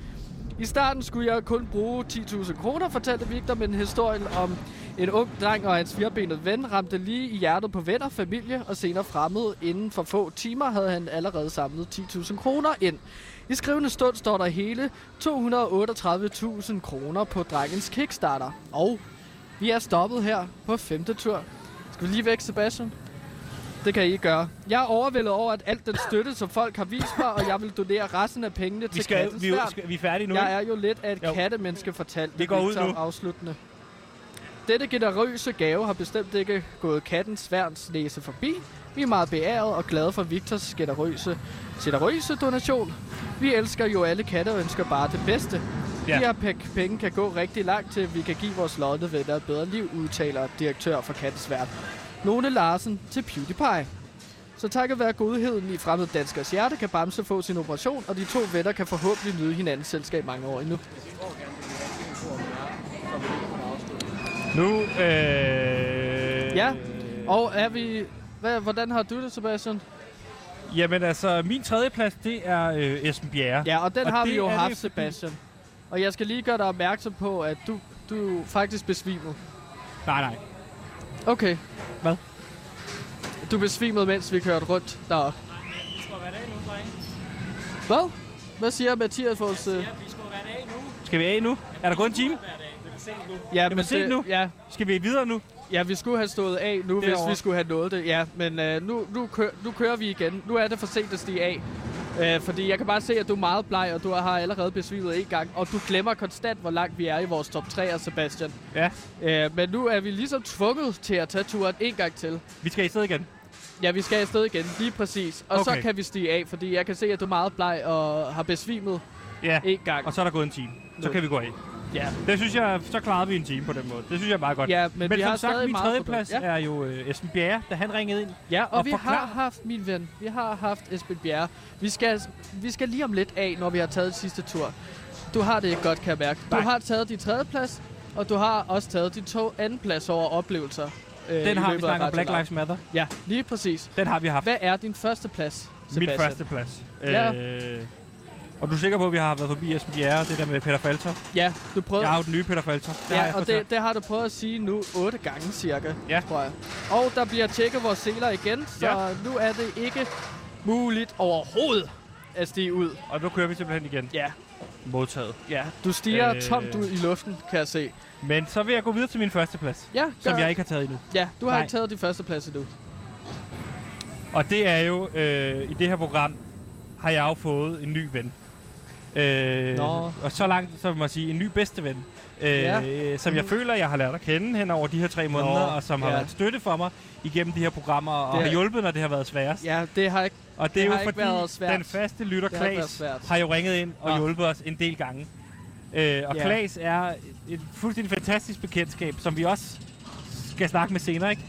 [SPEAKER 2] I starten skulle jeg kun bruge 10.000 kroner, fortalte Victor, men historien om en ung dreng og hans firbenede ven ramte lige i hjertet på venner, familie og senere fremmede. Inden for få timer havde han allerede samlet 10.000 kroner ind. I skrivende stund står der hele 238.000 kroner på drengens kickstarter. Og vi er stoppet her på femte tur. Skal vi lige væk, Sebastian? Det kan I gøre. Jeg er overvældet over, at alt den støtte, som folk har vist mig, og jeg vil donere resten af pengene til
[SPEAKER 1] Vi, skal,
[SPEAKER 2] kattens
[SPEAKER 1] vi,
[SPEAKER 2] værn.
[SPEAKER 1] skal, vi er færdige nu,
[SPEAKER 2] Jeg
[SPEAKER 1] ikke?
[SPEAKER 2] er jo lidt af et
[SPEAKER 1] Jo.
[SPEAKER 2] kattemenneske fortalt.
[SPEAKER 1] Vi går ud
[SPEAKER 2] Victor
[SPEAKER 1] nu.
[SPEAKER 2] Afsluttende. Dette generøse gave har bestemt ikke gået katten Sværns næse forbi. Vi er meget beæret og glade for Victors generøse, generøse donation. Vi elsker jo alle katte og ønsker bare det bedste. Ja.
[SPEAKER 1] Ja.
[SPEAKER 2] De her pek- penge kan gå rigtig langt til, at vi kan give vores lodne venner et bedre liv, udtaler direktør for Kattens Værn, Lone Larsen til PewDiePie. Så takket være godheden i fremmede danskers hjerte, kan Bamse få sin operation, og de to venner kan forhåbentlig nyde hinandens selskab mange år endnu.
[SPEAKER 1] Nu, øh...
[SPEAKER 2] Ja, og er vi... Hvad, hvordan har du det, Sebastian?
[SPEAKER 1] Jamen altså, min tredje plads, det er øh, Esben Bjerre.
[SPEAKER 2] Ja, og den og
[SPEAKER 1] Og
[SPEAKER 2] har
[SPEAKER 1] det
[SPEAKER 2] vi jo
[SPEAKER 1] er det,
[SPEAKER 2] haft,
[SPEAKER 1] fordi-
[SPEAKER 2] Sebastian. Og jeg skal lige gøre dig opmærksom på, at du, du er faktisk besvimet.
[SPEAKER 1] Nej, nej.
[SPEAKER 2] Okay.
[SPEAKER 1] Hvad?
[SPEAKER 2] Du besvimede, mens vi kørte rundt deroppe.
[SPEAKER 5] Vi skulle være af nu, drenge.
[SPEAKER 2] Hvad? Hvad siger Mathias for os? Øh...
[SPEAKER 5] Vi skulle være af nu.
[SPEAKER 1] Skal vi af nu? Er der gået en time?
[SPEAKER 5] Hver dag. Det er sent nu.
[SPEAKER 2] Ja,
[SPEAKER 1] men se
[SPEAKER 2] det-
[SPEAKER 1] nu.
[SPEAKER 2] Ja,
[SPEAKER 1] Skal vi videre nu?
[SPEAKER 2] ja, vi skulle have stået af nu, hvis
[SPEAKER 1] Derovre.
[SPEAKER 2] vi skulle have nået det. Ja, men øh, nu, nu, kø- nu kører vi igen. Nu er det for sent at stige af. Øh, fordi jeg kan bare se, at du er meget bleg, og du har allerede besvimet en gang. Og du glemmer konstant, hvor langt vi er i vores top 3, Sebastian.
[SPEAKER 1] Ja.
[SPEAKER 2] Øh, men nu er vi ligesom tvunget til at tage turen en gang til.
[SPEAKER 1] Vi skal i sted igen.
[SPEAKER 2] Ja, vi skal afsted igen, lige præcis. Og okay. så
[SPEAKER 1] Okay.
[SPEAKER 2] kan vi stige af, fordi jeg kan se, at du er meget bleg og har besvimet
[SPEAKER 1] Ja.
[SPEAKER 2] en gang.
[SPEAKER 1] Og så er der gået en time. Så
[SPEAKER 2] Nu.
[SPEAKER 1] kan vi gå af.
[SPEAKER 2] Ja,
[SPEAKER 1] Det synes jeg, så klarede vi en time på den måde. Det synes jeg er meget godt.
[SPEAKER 2] Ja, men vi
[SPEAKER 1] som
[SPEAKER 2] har
[SPEAKER 1] sagt,
[SPEAKER 2] stadig
[SPEAKER 1] min
[SPEAKER 2] meget
[SPEAKER 1] tredjeplads
[SPEAKER 2] produkt.
[SPEAKER 1] ja. er jo øh, Esben Bjerre, da han ringede ind.
[SPEAKER 2] ja og,
[SPEAKER 1] Og
[SPEAKER 2] vi
[SPEAKER 1] forklar.
[SPEAKER 2] har haft, min ven, vi har haft Esben Bjerre. Vi skal, vi skal lige om lidt af, når vi har taget sidste tur. Du har det ikke godt, kan jeg mærke. Du
[SPEAKER 1] Nej.
[SPEAKER 2] har taget din tredje plads, og du har også taget din to anden plads over oplevelser. øh, i
[SPEAKER 1] Den har vi
[SPEAKER 2] løbet af
[SPEAKER 1] snakket om
[SPEAKER 2] Radio
[SPEAKER 1] Black
[SPEAKER 2] Loud.
[SPEAKER 1] Lives Matter.
[SPEAKER 2] Ja, lige præcis.
[SPEAKER 1] Den har vi haft.
[SPEAKER 2] Hvad er din første plads,
[SPEAKER 1] Min
[SPEAKER 2] Sebastian?
[SPEAKER 1] første plads.
[SPEAKER 2] Ja.
[SPEAKER 1] Øh, og du er sikker på, at vi har været forbi Esben Bjerre og det der med Peter Falter?
[SPEAKER 2] Ja, du prøvede.
[SPEAKER 1] Jeg har jo den nye Peter Falter. Det har jeg
[SPEAKER 2] Ja, og
[SPEAKER 1] fortalt.
[SPEAKER 2] det, det har du prøvet at sige nu otte gange cirka,
[SPEAKER 1] Ja.
[SPEAKER 2] tror jeg. Og der bliver tjekket vores seler igen, så
[SPEAKER 1] Ja.
[SPEAKER 2] nu er det ikke muligt overhovedet at stige ud.
[SPEAKER 1] og nu kører vi simpelthen igen.
[SPEAKER 2] Ja,
[SPEAKER 1] Modtaget.
[SPEAKER 2] ja. Du stiger
[SPEAKER 1] Øh.
[SPEAKER 2] øh... tomt ud i luften, kan jeg se.
[SPEAKER 1] Men så vil jeg gå videre til min første plads,
[SPEAKER 2] Ja, gør.
[SPEAKER 1] som jeg ikke har taget endnu.
[SPEAKER 2] Ja, du har
[SPEAKER 1] Nej.
[SPEAKER 2] ikke taget din første plads endnu.
[SPEAKER 1] Og det er jo, øh, i det her program, har jeg jo fået en ny ven. Øh,
[SPEAKER 2] Nå.
[SPEAKER 1] og så langt, så vil man sige, en ny bedste ven. Øh,
[SPEAKER 2] Ja. Mm.
[SPEAKER 1] Som jeg føler, jeg har lært at kende hen over de her tre måneder, og som har
[SPEAKER 2] ja.
[SPEAKER 1] været en støtte for mig igennem de her programmer, og
[SPEAKER 2] Det
[SPEAKER 1] har
[SPEAKER 2] er-
[SPEAKER 1] hjulpet, når det har været sværest.
[SPEAKER 2] Ja, det har ikke...
[SPEAKER 1] Og det,
[SPEAKER 2] Det
[SPEAKER 1] er
[SPEAKER 2] har
[SPEAKER 1] jo
[SPEAKER 2] ikke været
[SPEAKER 1] fordi,
[SPEAKER 2] svært.
[SPEAKER 1] den faste lytter
[SPEAKER 2] Det har ikke været
[SPEAKER 1] Klaas
[SPEAKER 2] svært.
[SPEAKER 1] har jo ringet ind og
[SPEAKER 2] Nå.
[SPEAKER 1] hjulpet os en del gange. Øh, og
[SPEAKER 2] Ja.
[SPEAKER 1] Klaas er et fuldstændig fantastisk bekendtskab, som vi også skal snakke med senere, ikke?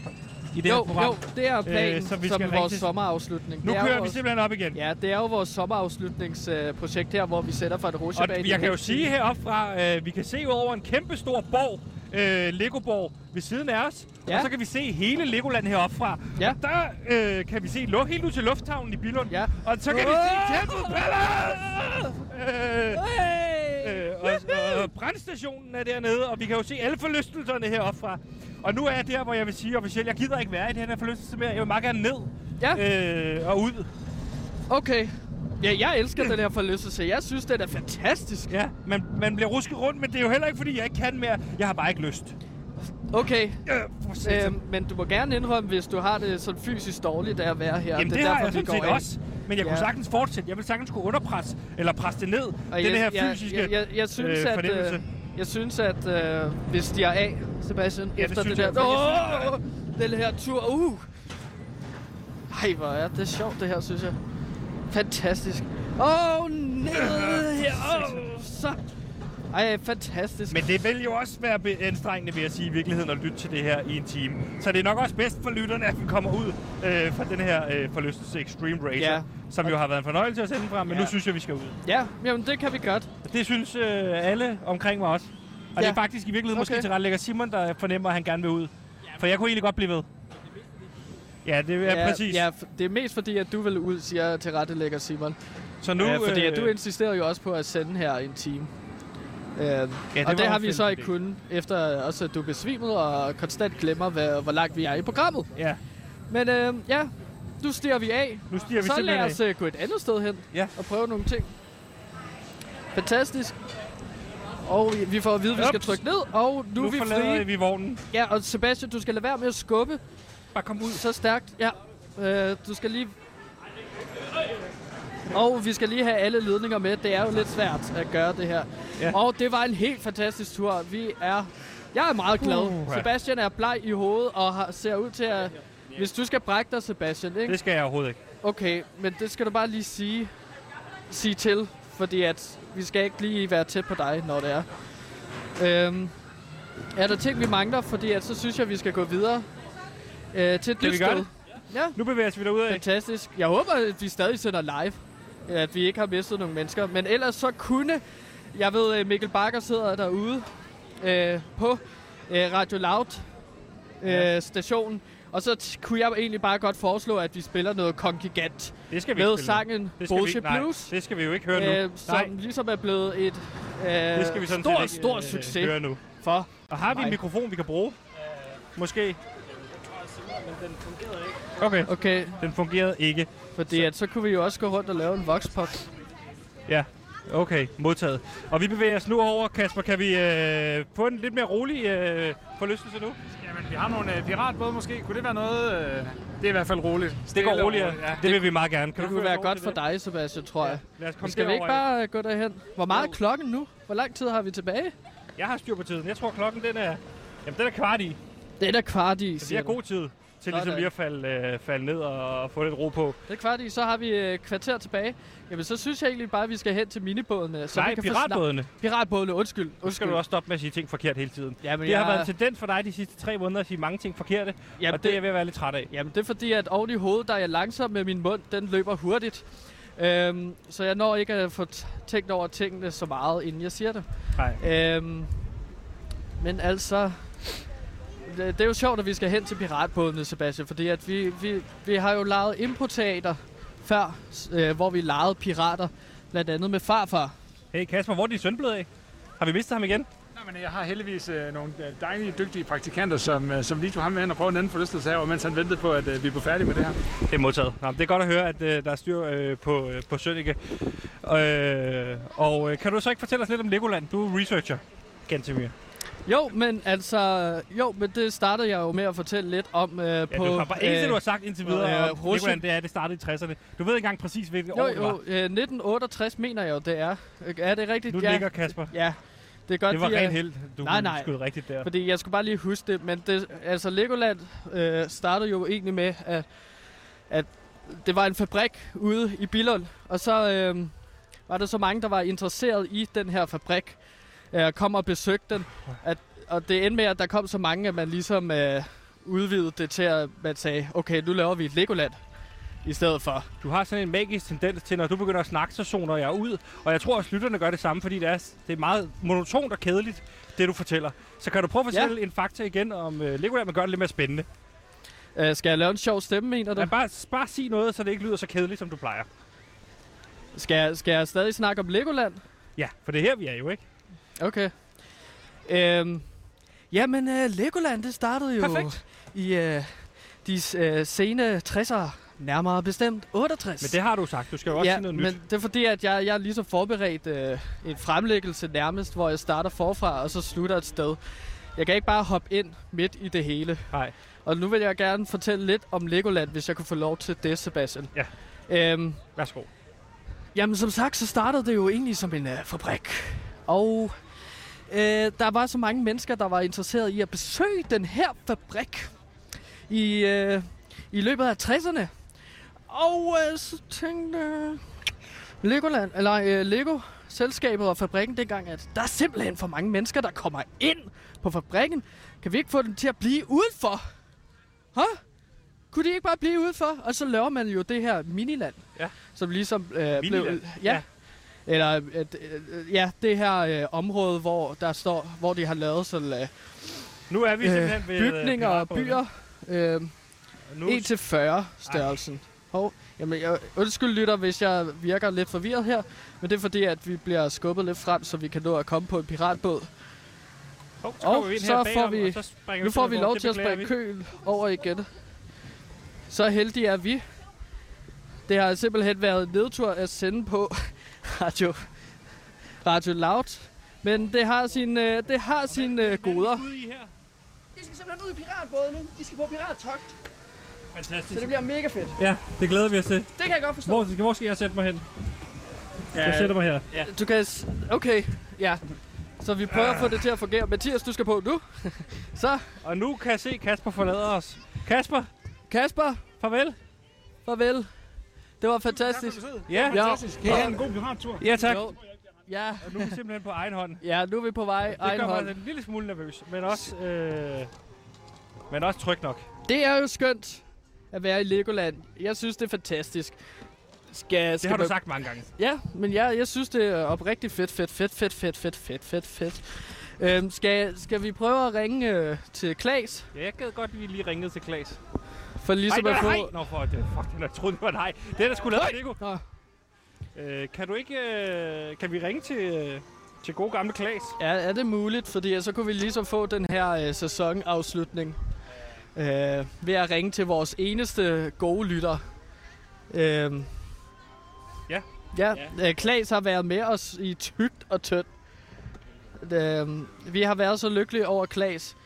[SPEAKER 1] I det her
[SPEAKER 2] Jo,
[SPEAKER 1] program.
[SPEAKER 2] jo, det er planen
[SPEAKER 1] Øh,
[SPEAKER 2] øh,
[SPEAKER 1] så vi
[SPEAKER 2] som
[SPEAKER 1] skal
[SPEAKER 2] vores
[SPEAKER 1] rigtig-
[SPEAKER 2] sommerafslutning.
[SPEAKER 1] Nu
[SPEAKER 2] Det er
[SPEAKER 1] kører
[SPEAKER 2] jo
[SPEAKER 1] vi
[SPEAKER 2] vores...
[SPEAKER 1] simpelthen op igen.
[SPEAKER 2] Ja, det er jo vores sommerafslutningsprojekt her, hvor vi sætter fra et
[SPEAKER 1] Og
[SPEAKER 2] rutsjebane.
[SPEAKER 1] jeg kan jo sige heroppefra, øh, vi kan se ud over en kæmpe stor borg, øh, Legoborg, ved siden af os. Ja.
[SPEAKER 2] Ja.
[SPEAKER 1] Og så kan vi se hele Legoland heroppefra.
[SPEAKER 2] Ja.
[SPEAKER 1] Og der øh, kan vi se lu- helt ud til lufthavnen i Billund.
[SPEAKER 2] Ja.
[SPEAKER 1] Og så kan vi se Temple Palace! Øh,
[SPEAKER 2] Hey!
[SPEAKER 1] Øh, og, og brandstationen er dernede, og vi kan jo se alle forlystelserne heroppefra. Og nu er jeg der, hvor jeg vil sige officielt, jeg gider ikke være i den her forlystelse mere. Jeg vil meget gerne ned øh, og ud.
[SPEAKER 2] Okay. Ja, jeg elsker den her forlystelse. Jeg synes, den er fantastisk.
[SPEAKER 1] Ja, man, man bliver rusket rundt, men det er jo heller ikke, fordi jeg ikke kan mere. Jeg har bare ikke lyst.
[SPEAKER 2] Okay,
[SPEAKER 1] Øh,
[SPEAKER 2] øhm, men du må gerne indrømme, hvis du har det sådan fysisk dårligt af at være her.
[SPEAKER 1] Jamen det,
[SPEAKER 2] er
[SPEAKER 1] det har jeg
[SPEAKER 2] vi
[SPEAKER 1] sådan
[SPEAKER 2] går
[SPEAKER 1] set
[SPEAKER 2] af.
[SPEAKER 1] også. Men jeg ja. kunne
[SPEAKER 2] Ja.
[SPEAKER 1] sagtens fortsætte. Jeg ville sagtens kunne underpresse, eller presse det ned.
[SPEAKER 2] Og
[SPEAKER 1] den her
[SPEAKER 2] jeg,
[SPEAKER 1] fysiske
[SPEAKER 2] jeg, jeg, jeg synes,
[SPEAKER 1] øh,
[SPEAKER 2] at,
[SPEAKER 1] fornemmelse.
[SPEAKER 2] øh, jeg synes, at øh, hvis de er af, Sebastian,
[SPEAKER 1] det
[SPEAKER 2] efter
[SPEAKER 1] synes
[SPEAKER 2] det,
[SPEAKER 1] jeg,
[SPEAKER 2] der...
[SPEAKER 1] for jeg
[SPEAKER 2] Åh, den her tur, uh! Ej, hvor er det sjovt, det her, synes jeg. Fantastisk. Åh, oh, ned her. Åh, så. Ej, fantastisk.
[SPEAKER 1] Men det vil jo også være be- anstrengende, vil jeg sige, i virkeligheden at lytte til det her i en time. Så det er nok også bedst for lytterne, at vi kommer ud øh, fra den her øh, forlystelse Extreme Racer, ja.
[SPEAKER 2] Ja.
[SPEAKER 1] som jo har været en fornøjelse at sende frem, men ja.
[SPEAKER 2] Ja.
[SPEAKER 1] nu synes jeg, vi skal ud.
[SPEAKER 2] Ja, jamen det kan vi godt.
[SPEAKER 1] Det synes øh, alle omkring mig også. Og ja. det
[SPEAKER 2] Ja.
[SPEAKER 1] er faktisk i virkeligheden okay. måske
[SPEAKER 2] Okay.
[SPEAKER 1] til retlægger Simon, der fornemmer, at han gerne vil ud. For jeg kunne egentlig godt blive ved. Ja, det er ja, præcis.
[SPEAKER 2] Ja,
[SPEAKER 1] Ja.
[SPEAKER 2] f- det er mest fordi, at du vil ud, siger tilrettelægger Simon.
[SPEAKER 1] Så nu,
[SPEAKER 2] Nu, ja, fordi
[SPEAKER 1] øh,
[SPEAKER 2] at du insisterer jo også på at sende her i en time. Øh, ja, det
[SPEAKER 1] var
[SPEAKER 2] og det har
[SPEAKER 1] en
[SPEAKER 2] vi så
[SPEAKER 1] fælles
[SPEAKER 2] ikke
[SPEAKER 1] idé.
[SPEAKER 2] kunnet, efter også at du er besvimet og konstant glemmer, hvad, hvor langt vi er i programmet.
[SPEAKER 1] ja,
[SPEAKER 2] Men øh, ja, nu stiger vi af.
[SPEAKER 1] nu stiger vi
[SPEAKER 2] så lad
[SPEAKER 1] simpelthen af.
[SPEAKER 2] os øh, gå et andet sted hen
[SPEAKER 1] Ja.
[SPEAKER 2] og prøve nogle ting. Fantastisk. Og vi- vi får at vide, at vi skal
[SPEAKER 1] Ups.
[SPEAKER 2] trykke ned, og nu,
[SPEAKER 1] Nu
[SPEAKER 2] er vi
[SPEAKER 1] forlader
[SPEAKER 2] frie.
[SPEAKER 1] vi vognen.
[SPEAKER 2] Ja, og Sebastian, du skal lade være med at skubbe
[SPEAKER 1] Bare kom ud.
[SPEAKER 2] så stærkt. Ja, øh, du skal lige... Og vi skal lige have alle ledninger med. Det er jo lidt svært at gøre det her.
[SPEAKER 1] Ja.
[SPEAKER 2] Ja. Og det var en helt fantastisk tur. Vi er... Jeg er meget glad.
[SPEAKER 1] Uh,
[SPEAKER 2] Uh,
[SPEAKER 1] ja.
[SPEAKER 2] Sebastian er bleg i hovedet og har, ser ud til at... Hvis du skal brække dig, Sebastian, ikke?
[SPEAKER 1] Det skal jeg overhovedet ikke.
[SPEAKER 2] Okay, men det skal du bare lige sige, sige til, fordi at vi skal ikke lige være tæt på dig, når det er. Øhm, er der ting, vi mangler? Fordi at så synes jeg, vi skal gå videre øh, til et
[SPEAKER 1] Skal
[SPEAKER 2] nyt
[SPEAKER 1] vi gøre
[SPEAKER 2] sted.
[SPEAKER 1] det?
[SPEAKER 2] Ja,
[SPEAKER 1] Nu bevæger vi derud af.
[SPEAKER 2] fantastisk. Jeg håber, at vi stadig sender live. At vi ikke har mistet nogle mennesker. Men ellers så kunne... Jeg ved, øh, Mikkel Bakker sidder derude øh, på øh, Radio Loud øh,
[SPEAKER 1] Ja.
[SPEAKER 2] stationen. Og så t- kunne jeg egentlig bare godt foreslå, at vi spiller noget kongigant
[SPEAKER 1] Det skal vi
[SPEAKER 2] med
[SPEAKER 1] ikke spille.
[SPEAKER 2] sangen
[SPEAKER 1] det skal vi
[SPEAKER 2] Bolsje
[SPEAKER 1] ikke, nej,
[SPEAKER 2] Blues,
[SPEAKER 1] det skal vi jo ikke høre nu.
[SPEAKER 2] øh,
[SPEAKER 1] Nej,
[SPEAKER 2] som ligesom er blevet et øh,
[SPEAKER 1] det skal vi sådan set
[SPEAKER 2] stor,
[SPEAKER 1] ikke,
[SPEAKER 2] stor
[SPEAKER 1] øh,
[SPEAKER 2] succes
[SPEAKER 1] høre nu.
[SPEAKER 2] for.
[SPEAKER 1] Og har vi en
[SPEAKER 2] Nej. Øh.
[SPEAKER 1] mikrofon, vi kan bruge? Måske. Okay,
[SPEAKER 2] Okay,
[SPEAKER 1] den fungerede ikke.
[SPEAKER 2] fordi at, så kunne vi jo også gå rundt og lave en voxpop.
[SPEAKER 1] Ja, okay, modtaget. Og vi bevæger os nu over, Kasper. Kan vi øh, få en lidt mere rolig øh, forlystelse nu?
[SPEAKER 3] Jamen, vi har nogle øh, piratbåde måske. Kunne det være noget... Øh... Det er i hvert fald roligt.
[SPEAKER 1] Det
[SPEAKER 3] Stille
[SPEAKER 1] går
[SPEAKER 3] og
[SPEAKER 1] roligere.
[SPEAKER 3] roligt, Ja.
[SPEAKER 1] Det vil vi meget gerne. Kan du
[SPEAKER 2] Det kunne
[SPEAKER 1] føre
[SPEAKER 2] være
[SPEAKER 1] os over
[SPEAKER 2] godt
[SPEAKER 1] til
[SPEAKER 2] for
[SPEAKER 1] det?
[SPEAKER 2] dig, Sebastian, tror jeg.
[SPEAKER 1] Lad os komme
[SPEAKER 2] Skal vi ikke
[SPEAKER 1] derover, ja.
[SPEAKER 2] bare øh, gå derhen? Hvor meget er klokken nu? Hvor lang tid har vi tilbage?
[SPEAKER 1] Jeg har styr på tiden. Jeg tror, klokken den er... Jamen, den er kvart i.
[SPEAKER 2] Det er da kvart i,
[SPEAKER 1] Så vi
[SPEAKER 2] siger
[SPEAKER 1] har
[SPEAKER 2] du.
[SPEAKER 1] god tid til ligesom
[SPEAKER 2] Sådan.
[SPEAKER 1] lige at falde, øh, falde ned og, og få lidt ro på.
[SPEAKER 2] Det er kvart i, så har vi øh, kvarter tilbage. Jamen, så synes jeg egentlig bare, at vi skal hen til minibådene. Så
[SPEAKER 1] Nej,
[SPEAKER 2] vi kan få
[SPEAKER 1] piratbådene.
[SPEAKER 2] snak- Piratbådene, undskyld.
[SPEAKER 1] Nu skal
[SPEAKER 2] undskyld.
[SPEAKER 1] du også stoppe med at sige ting forkert hele tiden.
[SPEAKER 2] Jamen,
[SPEAKER 1] det har
[SPEAKER 2] jeg-
[SPEAKER 1] været en tendens for dig de sidste tre måneder at sige mange ting forkerte,
[SPEAKER 2] Jamen,
[SPEAKER 1] og det er
[SPEAKER 2] det-
[SPEAKER 1] jeg ved at være lidt træt af.
[SPEAKER 2] Jamen, det er fordi, at oven i hovedet, der er jeg langsom med min mund, den løber hurtigt. Øhm, så jeg når ikke at få t- tænkt over tingene så meget, inden jeg siger det.
[SPEAKER 1] Nej.
[SPEAKER 2] Øhm, men altså... Det det er jo sjovt, at vi skal hen til piratbådene, Sebastian, fordi at vi, vi, vi har jo lejet impoteater før, s- øh, hvor vi lejede pirater, blandt andet med farfar.
[SPEAKER 1] Hey Kasper, hvor er din søn blevet af? Har vi mistet ham igen?
[SPEAKER 3] Nej, men jeg har heldigvis øh, nogle øh, dejlige, dygtige praktikanter, som, øh, som lige tog ham med hen og prøvede en anden forlystelse herovre, mens han ventede på, at øh, vi blev færdige med det her.
[SPEAKER 1] Det er modtaget. Nå, men det er godt at høre, at øh, der er styr øh, på, øh, på Sønneke. Øh, og øh, kan du så ikke fortælle os lidt om Legoland? Du er researcher, Gantemir.
[SPEAKER 2] Jo, men altså, jo, men det startede jeg jo med at fortælle lidt om øh,
[SPEAKER 1] Ja,
[SPEAKER 2] på...
[SPEAKER 1] du har bare eneste, du har sagt indtil videre
[SPEAKER 2] øh,
[SPEAKER 1] øh, om
[SPEAKER 2] Russia-
[SPEAKER 1] Legoland, det er, at det startede i 60'erne. Du ved ikke engang præcis, hvilket år
[SPEAKER 2] jo,
[SPEAKER 1] det var.
[SPEAKER 2] jo, øh, 1968 mener jeg jo, det er. Øh, Er det rigtigt?
[SPEAKER 1] Nu
[SPEAKER 2] ja.
[SPEAKER 1] ligger Kasper.
[SPEAKER 2] Ja, det er godt,
[SPEAKER 1] Det var
[SPEAKER 2] de er-
[SPEAKER 1] rent held, du
[SPEAKER 2] Nej, nej.
[SPEAKER 1] skød rigtigt der.
[SPEAKER 2] Fordi jeg skulle bare lige huske det, men det, altså Legoland øh, startede jo egentlig med, at, at det var en fabrik ude i Billund, og så øh, var der så mange, der var interesseret i den her fabrik, øh, kom og besøgte den, at, og det endte med, at der kom så mange, at man ligesom øh, udvidede det til, at man sagde, okay, nu laver vi et Legoland i stedet for.
[SPEAKER 1] Du har sådan en magisk tendens til, når du begynder at snakke, så zoner jeg ud. Og jeg tror, at lytterne gør det samme, fordi det er, det er meget monotont og kedeligt, det du fortæller. Så kan du prøve at
[SPEAKER 2] Ja.
[SPEAKER 1] fortælle ja. en fakta igen om øh, Legoland, men gør det lidt mere spændende.
[SPEAKER 2] Øh, skal jeg lave en sjov stemme, mener du?
[SPEAKER 1] Ja, bare, bare sig noget, så det ikke lyder så kedeligt, som du plejer.
[SPEAKER 2] Skal, jeg- skal jeg stadig snakke om Legoland?
[SPEAKER 1] Ja, for det er her, vi er jo, ikke?
[SPEAKER 2] Okay. Øhm, jamen, øh, Legoland, det startede jo
[SPEAKER 1] Perfekt.
[SPEAKER 2] i øh, de øh, sene 60'ere, nærmere bestemt 68.
[SPEAKER 1] Men det har du sagt. Du skal jo også
[SPEAKER 2] ja,
[SPEAKER 1] sige noget
[SPEAKER 2] men
[SPEAKER 1] nyt.
[SPEAKER 2] det er fordi, at jeg, jeg er lige så forberedt øh, en fremlæggelse nærmest, hvor jeg starter forfra, og så slutter et sted. Jeg kan ikke bare hoppe ind midt i det hele.
[SPEAKER 1] Nej.
[SPEAKER 2] Og nu vil jeg gerne fortælle lidt om Legoland, hvis jeg kunne få lov til det, Sebastian.
[SPEAKER 1] Ja.
[SPEAKER 2] Øhm,
[SPEAKER 1] Værsgo.
[SPEAKER 2] Jamen som sagt, så startede det jo egentlig som en øh, fabrik. Og øh, der var så mange mennesker, der var interesseret i at besøge den her fabrik i, øh, i løbet af 60'erne. Og øh, så tænkte øh, Legoland, eller øh, Lego, selskabet og fabrikken dengang, at der er simpelthen for mange mennesker, der kommer ind på fabrikken. Kan vi ikke få dem til at blive udenfor? Hå? Kunne de ikke bare blive udenfor? Og så laver man jo det her miniland.
[SPEAKER 1] Ja.
[SPEAKER 2] Som ligesom øh, blev...
[SPEAKER 1] Miniland?
[SPEAKER 2] Ja. Eller øh, øh, ja, det her øh, område, hvor der står, hvor de har lavet sådan, øh,
[SPEAKER 1] Nu er vi simpelthen
[SPEAKER 2] øh,
[SPEAKER 1] ved... øh,
[SPEAKER 2] bygninger og
[SPEAKER 1] piratbåden.
[SPEAKER 2] byer. Øh,
[SPEAKER 1] Nu,
[SPEAKER 2] 1 til 40 størrelsen. Hov, jamen jeg undskyld lytter, hvis jeg virker lidt forvirret her, men det er fordi, at vi bliver skubbet lidt frem, så vi kan nå at komme på en piratbåd.
[SPEAKER 1] hov, så,
[SPEAKER 2] og
[SPEAKER 1] kommer vi ind
[SPEAKER 2] så
[SPEAKER 1] her bagom,
[SPEAKER 2] får vi-
[SPEAKER 1] og så springer
[SPEAKER 2] Nu
[SPEAKER 1] vi
[SPEAKER 2] får
[SPEAKER 1] til
[SPEAKER 2] vi
[SPEAKER 1] den
[SPEAKER 2] lov
[SPEAKER 1] bord.
[SPEAKER 2] til at
[SPEAKER 1] Det beklager
[SPEAKER 2] springe køen over igen. Så heldige er vi. Det har simpelthen været en nedtur at sende på Radio, Radio Loud, men det har sin, øh, det har sin øh,
[SPEAKER 1] vi.
[SPEAKER 2] goder.
[SPEAKER 1] Ude i her.
[SPEAKER 4] De skal simpelthen ud i piratbåden nu. De skal på pirattogt,
[SPEAKER 1] Fantastisk.
[SPEAKER 4] så det bliver mega fedt.
[SPEAKER 1] Ja, det glæder vi os til.
[SPEAKER 4] Det kan jeg godt forstå.
[SPEAKER 1] Hvor, hvor skal jeg sætte mig hen? Jeg sætter mig her.
[SPEAKER 2] Du kan... s- Okay, ja. Så vi prøver at få det til at fungere. Mathias, du skal på nu. Så,
[SPEAKER 1] Og nu kan jeg se, at Kasper forlader os. Kasper,
[SPEAKER 2] Kasper,
[SPEAKER 1] farvel.
[SPEAKER 2] farvel. Det var fantastisk.
[SPEAKER 1] Ja,
[SPEAKER 2] Ja,
[SPEAKER 3] Kan I have en god pirattur?
[SPEAKER 1] ja tak.
[SPEAKER 2] jo. Ja,
[SPEAKER 1] Og nu er vi simpelthen på egen hånd. Det
[SPEAKER 2] ja, nu er vi på vej. Egen
[SPEAKER 1] gør mig
[SPEAKER 2] hånd.
[SPEAKER 1] altså en lille smule nervøs, men også, øh, men også tryg nok.
[SPEAKER 2] Det er jo skønt at være i Legoland. Jeg synes, det er fantastisk. Skal,
[SPEAKER 1] Det
[SPEAKER 2] skal
[SPEAKER 1] har du
[SPEAKER 2] man-
[SPEAKER 1] sagt mange gange.
[SPEAKER 2] Ja, men jeg, jeg synes, det er oprigtigt fedt, fedt, fedt, fedt, fedt, fedt, fedt, fedt, fedt. Øhm, skal, skal vi prøve at ringe øh, til Klaas?
[SPEAKER 1] Ja, jeg gad godt, at vi lige ringede til Klaas. Ej,
[SPEAKER 2] For ligesom
[SPEAKER 1] det
[SPEAKER 2] at
[SPEAKER 1] var
[SPEAKER 2] få...
[SPEAKER 1] nej! Nå, for det, fuck, den er troet, det var nej. Det er der skulle lave Lego.
[SPEAKER 2] Nå,
[SPEAKER 1] Øh, kan du ikke, øh, kan vi ringe til, øh, til gode gamle Klaas?
[SPEAKER 2] Er, er det muligt? Fordi øh, så kunne vi lige så få den her øh, sæsonafslutning øh, ved at ringe til vores eneste gode lytter. Øh,
[SPEAKER 1] Ja.
[SPEAKER 2] Ja, øh, Klaas har været med os i tygt og tyndt. Øh, vi har været så lykkelige over Klaas.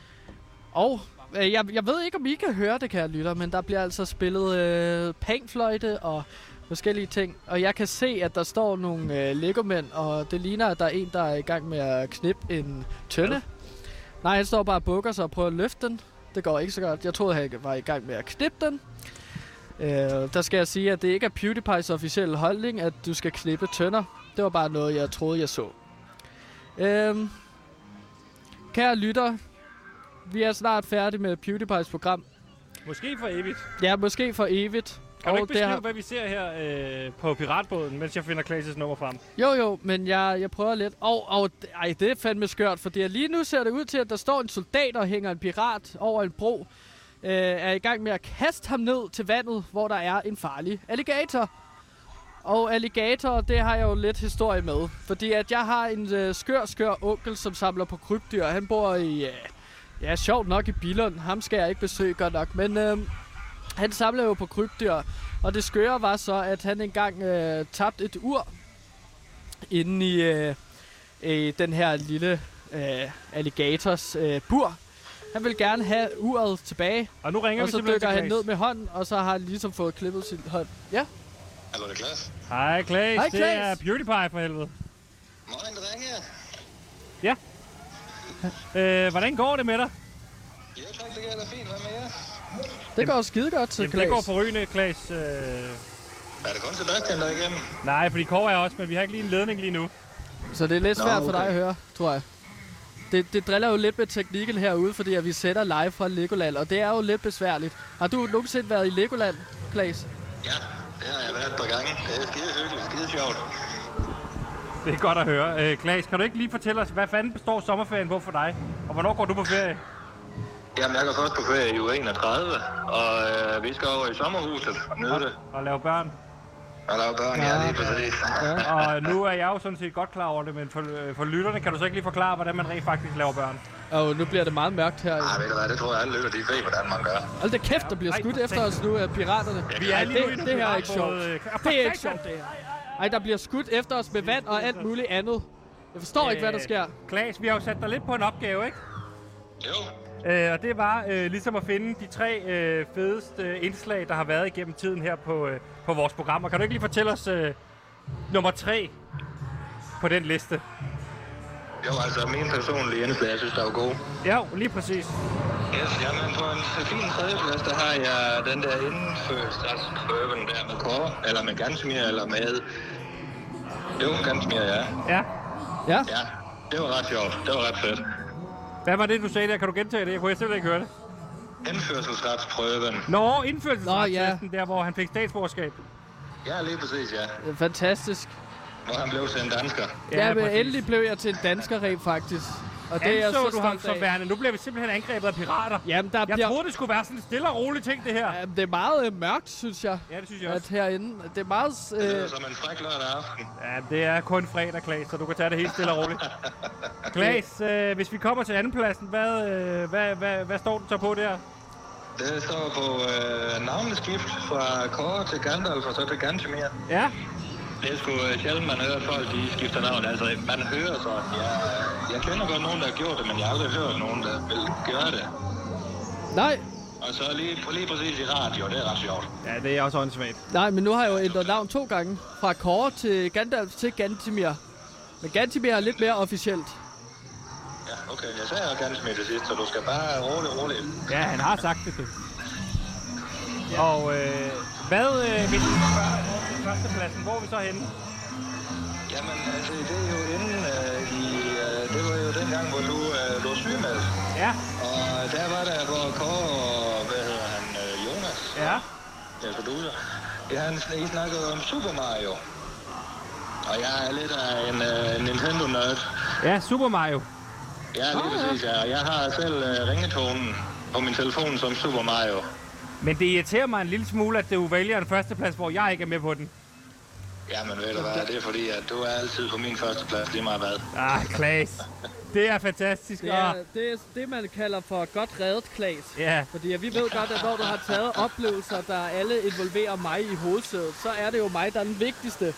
[SPEAKER 2] Og øh, jeg, jeg ved ikke, om I kan høre det, kære lytter, men der bliver altså spillet øh, panfløjte og forskellige ting. Og jeg kan se, at der står nogle øh, legomænd, og det ligner, at der er en, der er i gang med at knippe en tønde. Nej, han står bare og bukker sig og prøver at løfte den. det går ikke så godt. Jeg troede, han var i gang med at knippe den. Øh, der skal jeg sige, at det ikke er PewDiePie's officielle holdning, at du skal knippe tønder. Det var bare noget, jeg troede, jeg så. Øh, kære lytter, vi er snart færdige med PewDiePie's program.
[SPEAKER 1] Måske for evigt.
[SPEAKER 2] Ja, måske for evigt.
[SPEAKER 1] Kan du ikke
[SPEAKER 2] det
[SPEAKER 1] beskrive, hvad vi ser her øh, på piratbåden, mens jeg finder Klaas' nummer frem?
[SPEAKER 2] Jo, jo, men jeg, jeg prøver lidt. Og, og ej, det er fandme skørt, fordi lige nu ser det ud til, at der står en soldat og hænger en pirat over en bro. Øh, er i gang med at kaste ham ned til vandet, hvor der er en farlig alligator. Og alligator, det har jeg jo lidt historie med. Fordi at jeg har en øh, skør, skør onkel, som samler på krybdyr. Han bor i, øh, ja, sjovt nok i Billund. Ham skal jeg ikke besøge godt nok. Men øh, han samler jo på krybdyr. Og det skøre var så, at han engang øh, tabte et ur, inde i øh, øh, den her lille øh, alligators øh, bur. Han vil gerne have uret tilbage,
[SPEAKER 1] Og nu ringer
[SPEAKER 2] og
[SPEAKER 1] vi
[SPEAKER 2] så
[SPEAKER 1] simpelthen
[SPEAKER 2] dykker
[SPEAKER 1] til
[SPEAKER 2] han
[SPEAKER 1] Klaas.
[SPEAKER 2] ned med hånden, og så har han ligesom fået klippet sin hånd. Ja,
[SPEAKER 6] Hallo, det er Klaas.
[SPEAKER 1] Hej Klaas,
[SPEAKER 2] Hej,
[SPEAKER 1] det er
[SPEAKER 2] Klaas.
[SPEAKER 1] PewDiePie for helvede.
[SPEAKER 6] Morgen, drenge.
[SPEAKER 1] Øh, hvordan går det med dig?
[SPEAKER 6] Jo, tak, det gør da fint. Hvad med jer?
[SPEAKER 2] det går skide godt til
[SPEAKER 1] Jamen, det går
[SPEAKER 2] Klaas.
[SPEAKER 1] forrygende, Klaas. Øh,
[SPEAKER 6] Er det kun Sebastian, der er igennem?
[SPEAKER 1] nej, fordi Kåre er også, men vi har ikke lige en ledning lige nu.
[SPEAKER 2] Så det er lidt
[SPEAKER 6] Nå,
[SPEAKER 2] svært for dig
[SPEAKER 6] okay.
[SPEAKER 2] at høre, tror jeg. Det, det driller jo lidt med teknikken herude, fordi at vi sætter live fra Legoland, og det er jo lidt besværligt. Har du nogensinde været i Legoland, Klaas?
[SPEAKER 6] Ja, det har jeg været et par gange. Det er skide hyggeligt, skide sjovt.
[SPEAKER 1] Det er godt at høre. Øh, Klaas, kan du ikke lige fortælle os, hvad fanden består sommerferien på for dig? Og hvornår går du på ferie?
[SPEAKER 6] Jamen, jeg går først på ferie i uge 31, og øh, vi skal over i sommerhuset og nyde det.
[SPEAKER 1] Og lave børn.
[SPEAKER 6] Og der er børn, ja, lige præcis.
[SPEAKER 1] Og nu er jeg jo sådan set godt klar over det, men for, øh, for lytterne kan du så ikke lige forklare, hvordan man rent faktisk laver børn.
[SPEAKER 2] Og oh, nu bliver det meget mørkt her.
[SPEAKER 6] Ej, ved du hvad, det tror jeg alle lytter, de ved, hvordan man gør.
[SPEAKER 2] Hold da kæft, der bliver
[SPEAKER 1] Ej,
[SPEAKER 2] skudt
[SPEAKER 1] for
[SPEAKER 2] efter os nu af piraterne.
[SPEAKER 1] Vi er
[SPEAKER 2] Ej,
[SPEAKER 1] lige nu i den
[SPEAKER 2] det, det her er ikke sjovt.
[SPEAKER 1] piratbåd, øh,
[SPEAKER 2] Det er ikke sjovt, det her. Ej, der bliver skudt efter os med vand og alt muligt andet. Jeg forstår ikke, hvad der
[SPEAKER 1] Øh,
[SPEAKER 2] sker.
[SPEAKER 1] Klaas, vi har jo sat dig lidt på en opgave, ikke?
[SPEAKER 6] Jo,
[SPEAKER 1] Øh, og det var øh, ligesom at finde de tre øh, fedeste øh, indslag, der har været igennem tiden her på, øh, på vores program. Og kan du ikke lige fortælle os øh, nummer tre på den liste?
[SPEAKER 6] jo, altså min personlige indslag, jeg synes, der er god.
[SPEAKER 1] Ja, lige præcis.
[SPEAKER 6] Yes, jamen på en fin tredjeplads, der har jeg den der indfødsretsprøven der med kår, eller med gansmir, eller med... Jo, gansmir, ja.
[SPEAKER 1] Ja.
[SPEAKER 2] Ja,
[SPEAKER 6] Ja, det var ret sjovt. Det var ret fedt.
[SPEAKER 1] Hvad var det, du sagde der? Kan du gentage det? Jeg kunne simpelthen ikke høre det.
[SPEAKER 6] Indførselsretsprøven.
[SPEAKER 1] Nå, indførelsesrettesten, der hvor han fik statsborgerskab.
[SPEAKER 6] Ja, lige præcis, ja.
[SPEAKER 2] det er fantastisk.
[SPEAKER 6] Hvor han blev til en dansker.
[SPEAKER 2] Ja, men
[SPEAKER 1] præcis.
[SPEAKER 2] endelig blev jeg til en dansker rent faktisk. Og det er jeg
[SPEAKER 1] Anså
[SPEAKER 2] så
[SPEAKER 1] du ham
[SPEAKER 2] stolt
[SPEAKER 1] som
[SPEAKER 2] af.
[SPEAKER 1] værende. Nu bliver vi simpelthen angrebet af pirater.
[SPEAKER 2] Jamen, der
[SPEAKER 1] Jeg
[SPEAKER 2] bliver...
[SPEAKER 1] troede, det skulle være sådan en stille og rolig ting, det her.
[SPEAKER 2] Jamen, det er meget øh, mørkt, synes jeg.
[SPEAKER 1] Ja, det synes jeg
[SPEAKER 2] At
[SPEAKER 1] også.
[SPEAKER 2] herinde. Det er meget...
[SPEAKER 6] Det lyder
[SPEAKER 2] Øh,
[SPEAKER 6] som en fræk lørdag aften.
[SPEAKER 1] Ja, det er kun fredag, Klaas, så du kan tage det helt stille og roligt. Klaas, øh, hvis vi kommer til andenpladsen, hvad, øh, hvad, hvad, hvad står den så på der?
[SPEAKER 6] Det står på øh, navneskift fra Kåre til Gandalf og så til Gantemir.
[SPEAKER 1] Ja,
[SPEAKER 6] Det er sgu øh, sjældent, man hører folk, de skifter navn. Altså, man hører sådan. Jeg, jeg kender godt nogen, der har gjort det, men jeg har aldrig hørt nogen, der vil gøre det.
[SPEAKER 2] nej,
[SPEAKER 6] Og så lige, lige præcis i radio, det er ret sjovt.
[SPEAKER 1] ja det er også åndssvagt.
[SPEAKER 2] nej, men nu har jeg jo ændret navn to gange. Fra Kåre til Gandalf til Gantimir. Men Gantimir er lidt mere officielt.
[SPEAKER 6] Ja, okay. Jeg sagde jo Gantemir til sidst, så du skal bare roligt, roligt.
[SPEAKER 1] Ja, han har sagt det. du. Og øh, hvad, øh, hvis vi spørger til førstepladsen, hvor er vi så henne?
[SPEAKER 6] Jamen, altså, det er jo inden øh, i... Øh, det var jo dengang, hvor du, øh, du var sygemeldt.
[SPEAKER 1] Ja,
[SPEAKER 6] Og der var der, hvor Kåre og, hvad hedder han, øh, Jonas,
[SPEAKER 1] ja.
[SPEAKER 6] jeg producer, ja, han, I snakkede om Super Mario. Og jeg er lidt af en øh, Nintendo-nørd.
[SPEAKER 1] Ja, Super Mario.
[SPEAKER 6] Ja, lige præcis, ja. Og jeg har selv øh, ringetonen på min telefon som Super Mario.
[SPEAKER 1] Men det irriterer mig en lille smule, at du vælger en førsteplads, hvor jeg ikke er med på den.
[SPEAKER 6] Jamen, ved du hvad, det er fordi, at du er altid på min første plads, lige meget hvad.
[SPEAKER 1] Ah, Klaas. Det er fantastisk.
[SPEAKER 2] Det
[SPEAKER 1] og-
[SPEAKER 2] er, det er det, man kalder for godt reddet, Klaas.
[SPEAKER 1] Ja,
[SPEAKER 2] Fordi vi ved godt, at når du har taget oplevelser, der alle involverer mig i hovedsædet, så er det jo mig, der er den vigtigste.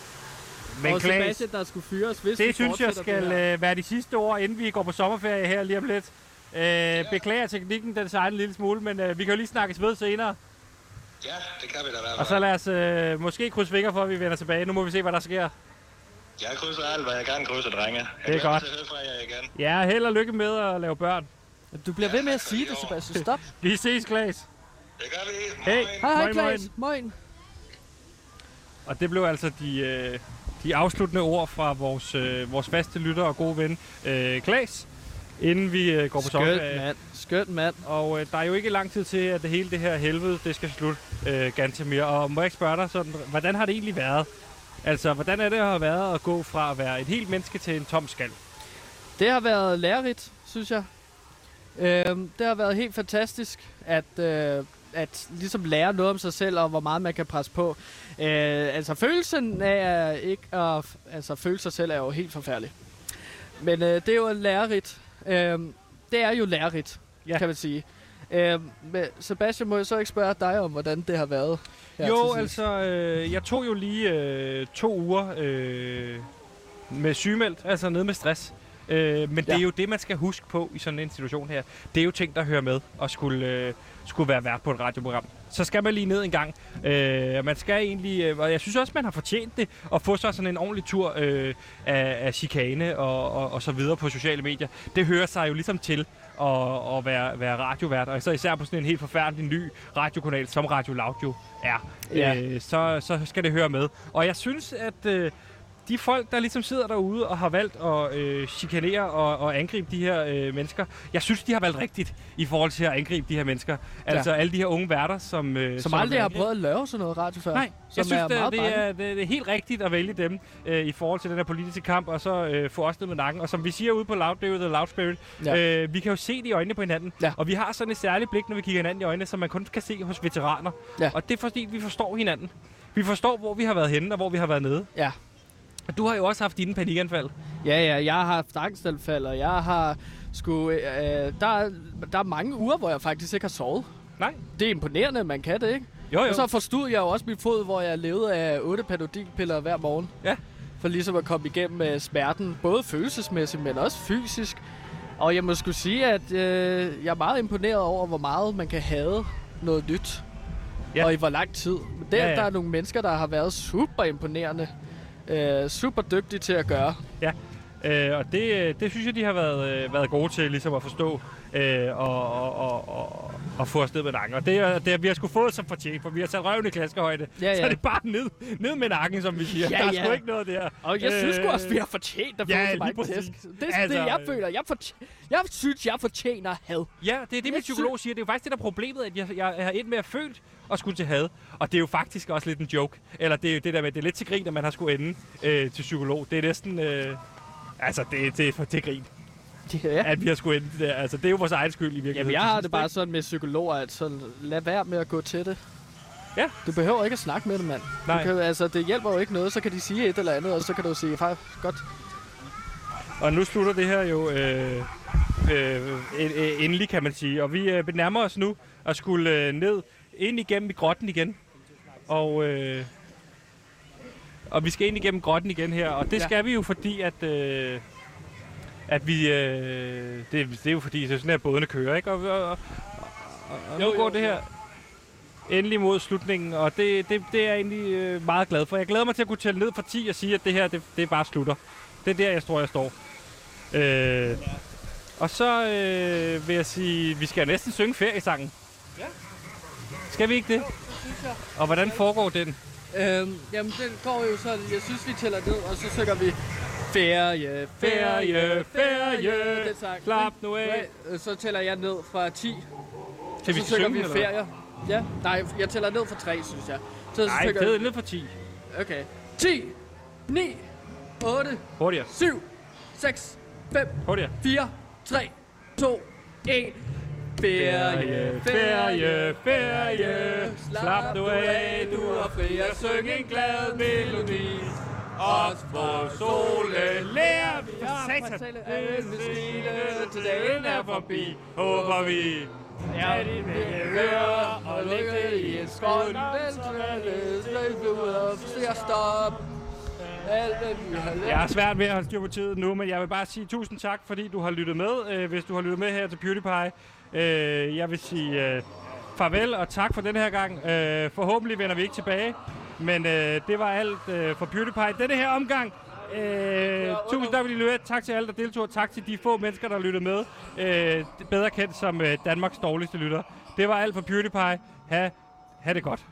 [SPEAKER 1] men
[SPEAKER 2] og
[SPEAKER 1] Klaas,
[SPEAKER 2] Sebastian, der skulle fyres, hvis vi
[SPEAKER 1] Det synes jeg
[SPEAKER 2] fortsætter
[SPEAKER 1] skal
[SPEAKER 2] det her.
[SPEAKER 1] øh, være de sidste ord, inden vi går på sommerferie her lige om lidt. Øh, beklager teknikken, den sejler en lille smule, men øh, vi kan jo lige snakkes ved senere.
[SPEAKER 6] Ja, det kan vi da være.
[SPEAKER 1] Og så lad os øh, måske krydse fingre for, at vi vender tilbage. Nu må vi se, hvad der sker.
[SPEAKER 6] Jeg krydser alt, hvad jeg kan krydse, drenge. Jeg
[SPEAKER 1] Det er
[SPEAKER 6] glæder mig
[SPEAKER 1] godt.
[SPEAKER 6] til at held fra jer igen.
[SPEAKER 1] Ja, held og lykke med at lave børn.
[SPEAKER 2] Du bliver ved med at sige det, Sebastian. Stop.
[SPEAKER 1] Vi ses, Klaas.
[SPEAKER 6] Det gør vi.
[SPEAKER 1] Hey.
[SPEAKER 6] Moin.
[SPEAKER 2] Hej, hej,
[SPEAKER 1] Moin, moin.
[SPEAKER 2] Klaas. Moin.
[SPEAKER 1] Og det blev altså de, øh, de afsluttende ord fra vores, øh, vores faste lytter og gode ven, øh, Klaas, inden vi øh, går på
[SPEAKER 2] Skønt,
[SPEAKER 1] sommerferie.
[SPEAKER 2] mand. Skønt, mand.
[SPEAKER 1] Og øh, der er jo ikke lang tid til, at det hele det her helvede, det skal slutte øh, ganske mere. Og må jeg ikke spørge dig, sådan, hvordan har det egentlig været? Altså, hvordan er det at have været at gå fra at være et helt menneske til en tom skal?
[SPEAKER 2] Det har været lærerigt, synes jeg. Øhm, det har været helt fantastisk at, øh, at ligesom lære noget om sig selv og hvor meget man kan presse på. Øh, altså følelsen af øh, ikke at altså, føle sig selv er jo helt forfærdelig. Men øh, det er jo lærerigt. Øh, det er jo lærerigt,
[SPEAKER 1] Ja.
[SPEAKER 2] ja. kan man sige. Øh, men Sebastian, må jeg så ikke spørge dig om, hvordan det har været? her til
[SPEAKER 1] jo,
[SPEAKER 2] sidst?
[SPEAKER 1] altså, øh, jeg tog jo lige øh, to uger øh, med sygemeldt, altså nede med stress. Øh, men ja. det
[SPEAKER 2] Ja.
[SPEAKER 1] er jo det, man skal huske på i sådan en situation her. Det er jo ting, der hører med og skulle, øh, skulle være vært på et radioprogram. Så skal man lige ned en gang. Øh, og man skal egentlig, øh, og jeg synes også, man har fortjent det, at få sig sådan en ordentlig tur øh, af, af chikane og, og, og så videre på sociale medier. Det hører sig jo ligesom til at, at være, være radiovært, og så især på sådan en helt forfærdelig ny radiokanal, som Radio Loud jo er.
[SPEAKER 2] Ja.
[SPEAKER 1] Øh, så, så skal det høre med. Og jeg synes, at... Øh, de folk, der ligesom sidder derude og har valgt at øh, chikanere og, og angribe de her øh, mennesker, jeg synes, de har valgt rigtigt i forhold til at angribe de her mennesker. Altså ja. alle de her unge værter, som... Øh,
[SPEAKER 2] som aldrig har
[SPEAKER 1] angriber.
[SPEAKER 2] prøvet at lave sådan noget radio før.
[SPEAKER 1] Nej,
[SPEAKER 2] som
[SPEAKER 1] jeg synes,
[SPEAKER 2] er
[SPEAKER 1] det,
[SPEAKER 2] meget
[SPEAKER 1] det,
[SPEAKER 2] bange.
[SPEAKER 1] er, det, det er helt rigtigt at vælge dem øh, i forhold til den her politiske kamp, og så øh, få os ned med nakken. Og som vi siger ude på Loud, det er jo The Loud Spirit,
[SPEAKER 2] Ja.
[SPEAKER 1] ja. øh, vi kan jo se det i øjnene på hinanden.
[SPEAKER 2] Ja.
[SPEAKER 1] Og vi har sådan et særligt blik, når vi kigger hinanden i øjnene, som man kun kan se hos veteraner.
[SPEAKER 2] Ja.
[SPEAKER 1] Og det er fordi, vi forstår hinanden. Vi forstår, hvor vi har været henne, og hvor vi har været nede.
[SPEAKER 2] Ja.
[SPEAKER 1] Og Du har jo også haft dine panikanfald.
[SPEAKER 2] Ja, ja, jeg har haft angstanfald, og jeg har sgu... Øh, øh, der, er- der er mange uger, hvor jeg faktisk ikke har sovet.
[SPEAKER 1] Nej.
[SPEAKER 2] Det er imponerende, at man kan det, ikke?
[SPEAKER 1] Jo, jo.
[SPEAKER 2] Og så forstod jeg jo også min fod, hvor jeg levede af otte panodilpiller hver morgen.
[SPEAKER 1] Ja.
[SPEAKER 2] For ligesom at komme igennem med smerten, både følelsesmæssigt, men også fysisk. Og jeg må skulle sige, at øh, jeg er meget imponeret over, hvor meget man kan have noget nyt.
[SPEAKER 1] Ja.
[SPEAKER 2] Ja. Og i hvor lang tid. Men der,
[SPEAKER 1] Ja,
[SPEAKER 2] ja,
[SPEAKER 1] ja.
[SPEAKER 2] ja. der er nogle mennesker, der har været super imponerende. Øh, super dygtige til at gøre.
[SPEAKER 1] Øh, og det, øh, det synes jeg, de har været, øh, været gode til ligesom at forstå øh, og, og, og, og, og få afsted med nakken. Og det, er, det er, vi har sgu fået som fortjent, for vi har sat røven i klaskehøjde.
[SPEAKER 2] Ja,
[SPEAKER 1] Så
[SPEAKER 2] ja.
[SPEAKER 1] er det bare ned, ned med nakken, som vi siger.
[SPEAKER 2] Ja,
[SPEAKER 1] der er
[SPEAKER 2] ja.
[SPEAKER 1] sgu ikke noget der.
[SPEAKER 2] Og jeg øh, synes sgu også, vi har fortjent at få
[SPEAKER 1] ja,
[SPEAKER 2] så
[SPEAKER 1] lige
[SPEAKER 2] mange
[SPEAKER 1] præcis.
[SPEAKER 2] tæsk. Det er
[SPEAKER 1] Altså,
[SPEAKER 2] altså, det, jeg
[SPEAKER 1] øh,
[SPEAKER 2] føler. Jeg, fortjener, jeg synes, jeg fortjener had.
[SPEAKER 1] Ja, det er det, min
[SPEAKER 2] Jeg
[SPEAKER 1] psykolog siger. Det er jo faktisk det, der er problemet, at jeg, jeg er ind med at følt og skulle til had. Og det er jo faktisk også lidt en joke. Eller det er jo det der med, at det er lidt til grin, at man har skulle ende øh, til psykolog. Det er næsten... Øh, altså, det, det er for til grin,
[SPEAKER 2] Ja.
[SPEAKER 1] at vi har skulle ende der. Altså, det er jo vores egen skyld i virkeligheden.
[SPEAKER 2] Jamen, jeg
[SPEAKER 1] til
[SPEAKER 2] har
[SPEAKER 1] sidst,
[SPEAKER 2] det
[SPEAKER 1] ikke?
[SPEAKER 2] bare sådan med psykologer, at sådan, lad være med at gå til det.
[SPEAKER 1] Ja.
[SPEAKER 2] Du behøver ikke at snakke med dem, mand.
[SPEAKER 1] Nej.
[SPEAKER 2] Du kan, altså, det hjælper jo ikke noget. Så kan de sige et eller andet, og så kan du sige, faktisk godt.
[SPEAKER 1] Og nu slutter det her jo øh, øh, øh, øh, endelig, kan man sige. Og vi øh, nærmer os nu at skulle øh, ned ind igennem i grotten igen. Og, øh, og vi skal ind igennem grotten igen her. Og det
[SPEAKER 2] Ja.
[SPEAKER 1] skal vi jo, fordi at... Øh, at vi... Øh, det, det er jo fordi, det er sådan her, bådene kører, ikke? Og, og, og, og nu
[SPEAKER 2] Jo,
[SPEAKER 1] jo,
[SPEAKER 2] jo,
[SPEAKER 1] går det her endelig mod slutningen, og det, det, det er jeg egentlig øh, meget glad for. Jeg glæder mig til at kunne tælle ned fra 10 og sige, at det her, det, det bare slutter. Det er der, jeg tror, jeg står. Øh, og så øh, vil jeg sige, vi skal næsten synge feriesangen. Ja. Skal vi ikke det? Og hvordan foregår den?
[SPEAKER 2] Øhm, jamen, den går jo sådan, jeg synes, vi tæller ned, og så synger vi ferie, ferie, ferie, den sang.
[SPEAKER 1] Klap nu af.
[SPEAKER 2] Øh, Så tæller jeg ned fra 10,
[SPEAKER 1] Skal vi
[SPEAKER 2] så synger
[SPEAKER 1] synge,
[SPEAKER 2] vi
[SPEAKER 1] eller hvad?
[SPEAKER 2] ferie. Ja, nej, jeg tæller ned fra 3, synes jeg. Så
[SPEAKER 1] Nej,
[SPEAKER 2] synger
[SPEAKER 1] det er ned fra 10.
[SPEAKER 2] Okay. 10, 9, 8,
[SPEAKER 1] Hurtigere,
[SPEAKER 2] 7, 6, 5,
[SPEAKER 1] hurtigere.
[SPEAKER 2] 4, 3, 2, 1. Ferie,
[SPEAKER 1] ferie, ferie. Slap nu af, du er fri
[SPEAKER 2] at
[SPEAKER 1] og syng en glad melodi. Os på solen lærer vi
[SPEAKER 2] Ja,
[SPEAKER 1] satan.
[SPEAKER 2] fortælle alle
[SPEAKER 1] Det stille til dagen er forbi, håber vi.
[SPEAKER 2] Ja, de vil høre og ligge i en skål. Den trælle, sløb ud og siger stop. Alt, hvad vi har lært.
[SPEAKER 1] Jeg har svært ved at holde styr på tiden nu, men jeg vil bare sige tusind tak, fordi du har lyttet med. Øh, hvis du har lyttet med her til PewDiePie, øh, jeg vil sige øh, farvel og tak for den her gang. Øh, forhåbentlig vender vi ikke tilbage, men øh, det var alt øh, for PewDiePie denne her omgang. Øh, tusind tak, fordi I løbet. Tak til alle, der deltog. Tak til de få mennesker, der lyttede med. Øh, bedre kendt som øh, Danmarks dårligste lytter. Det var alt for PewDiePie. Ha, ha det godt.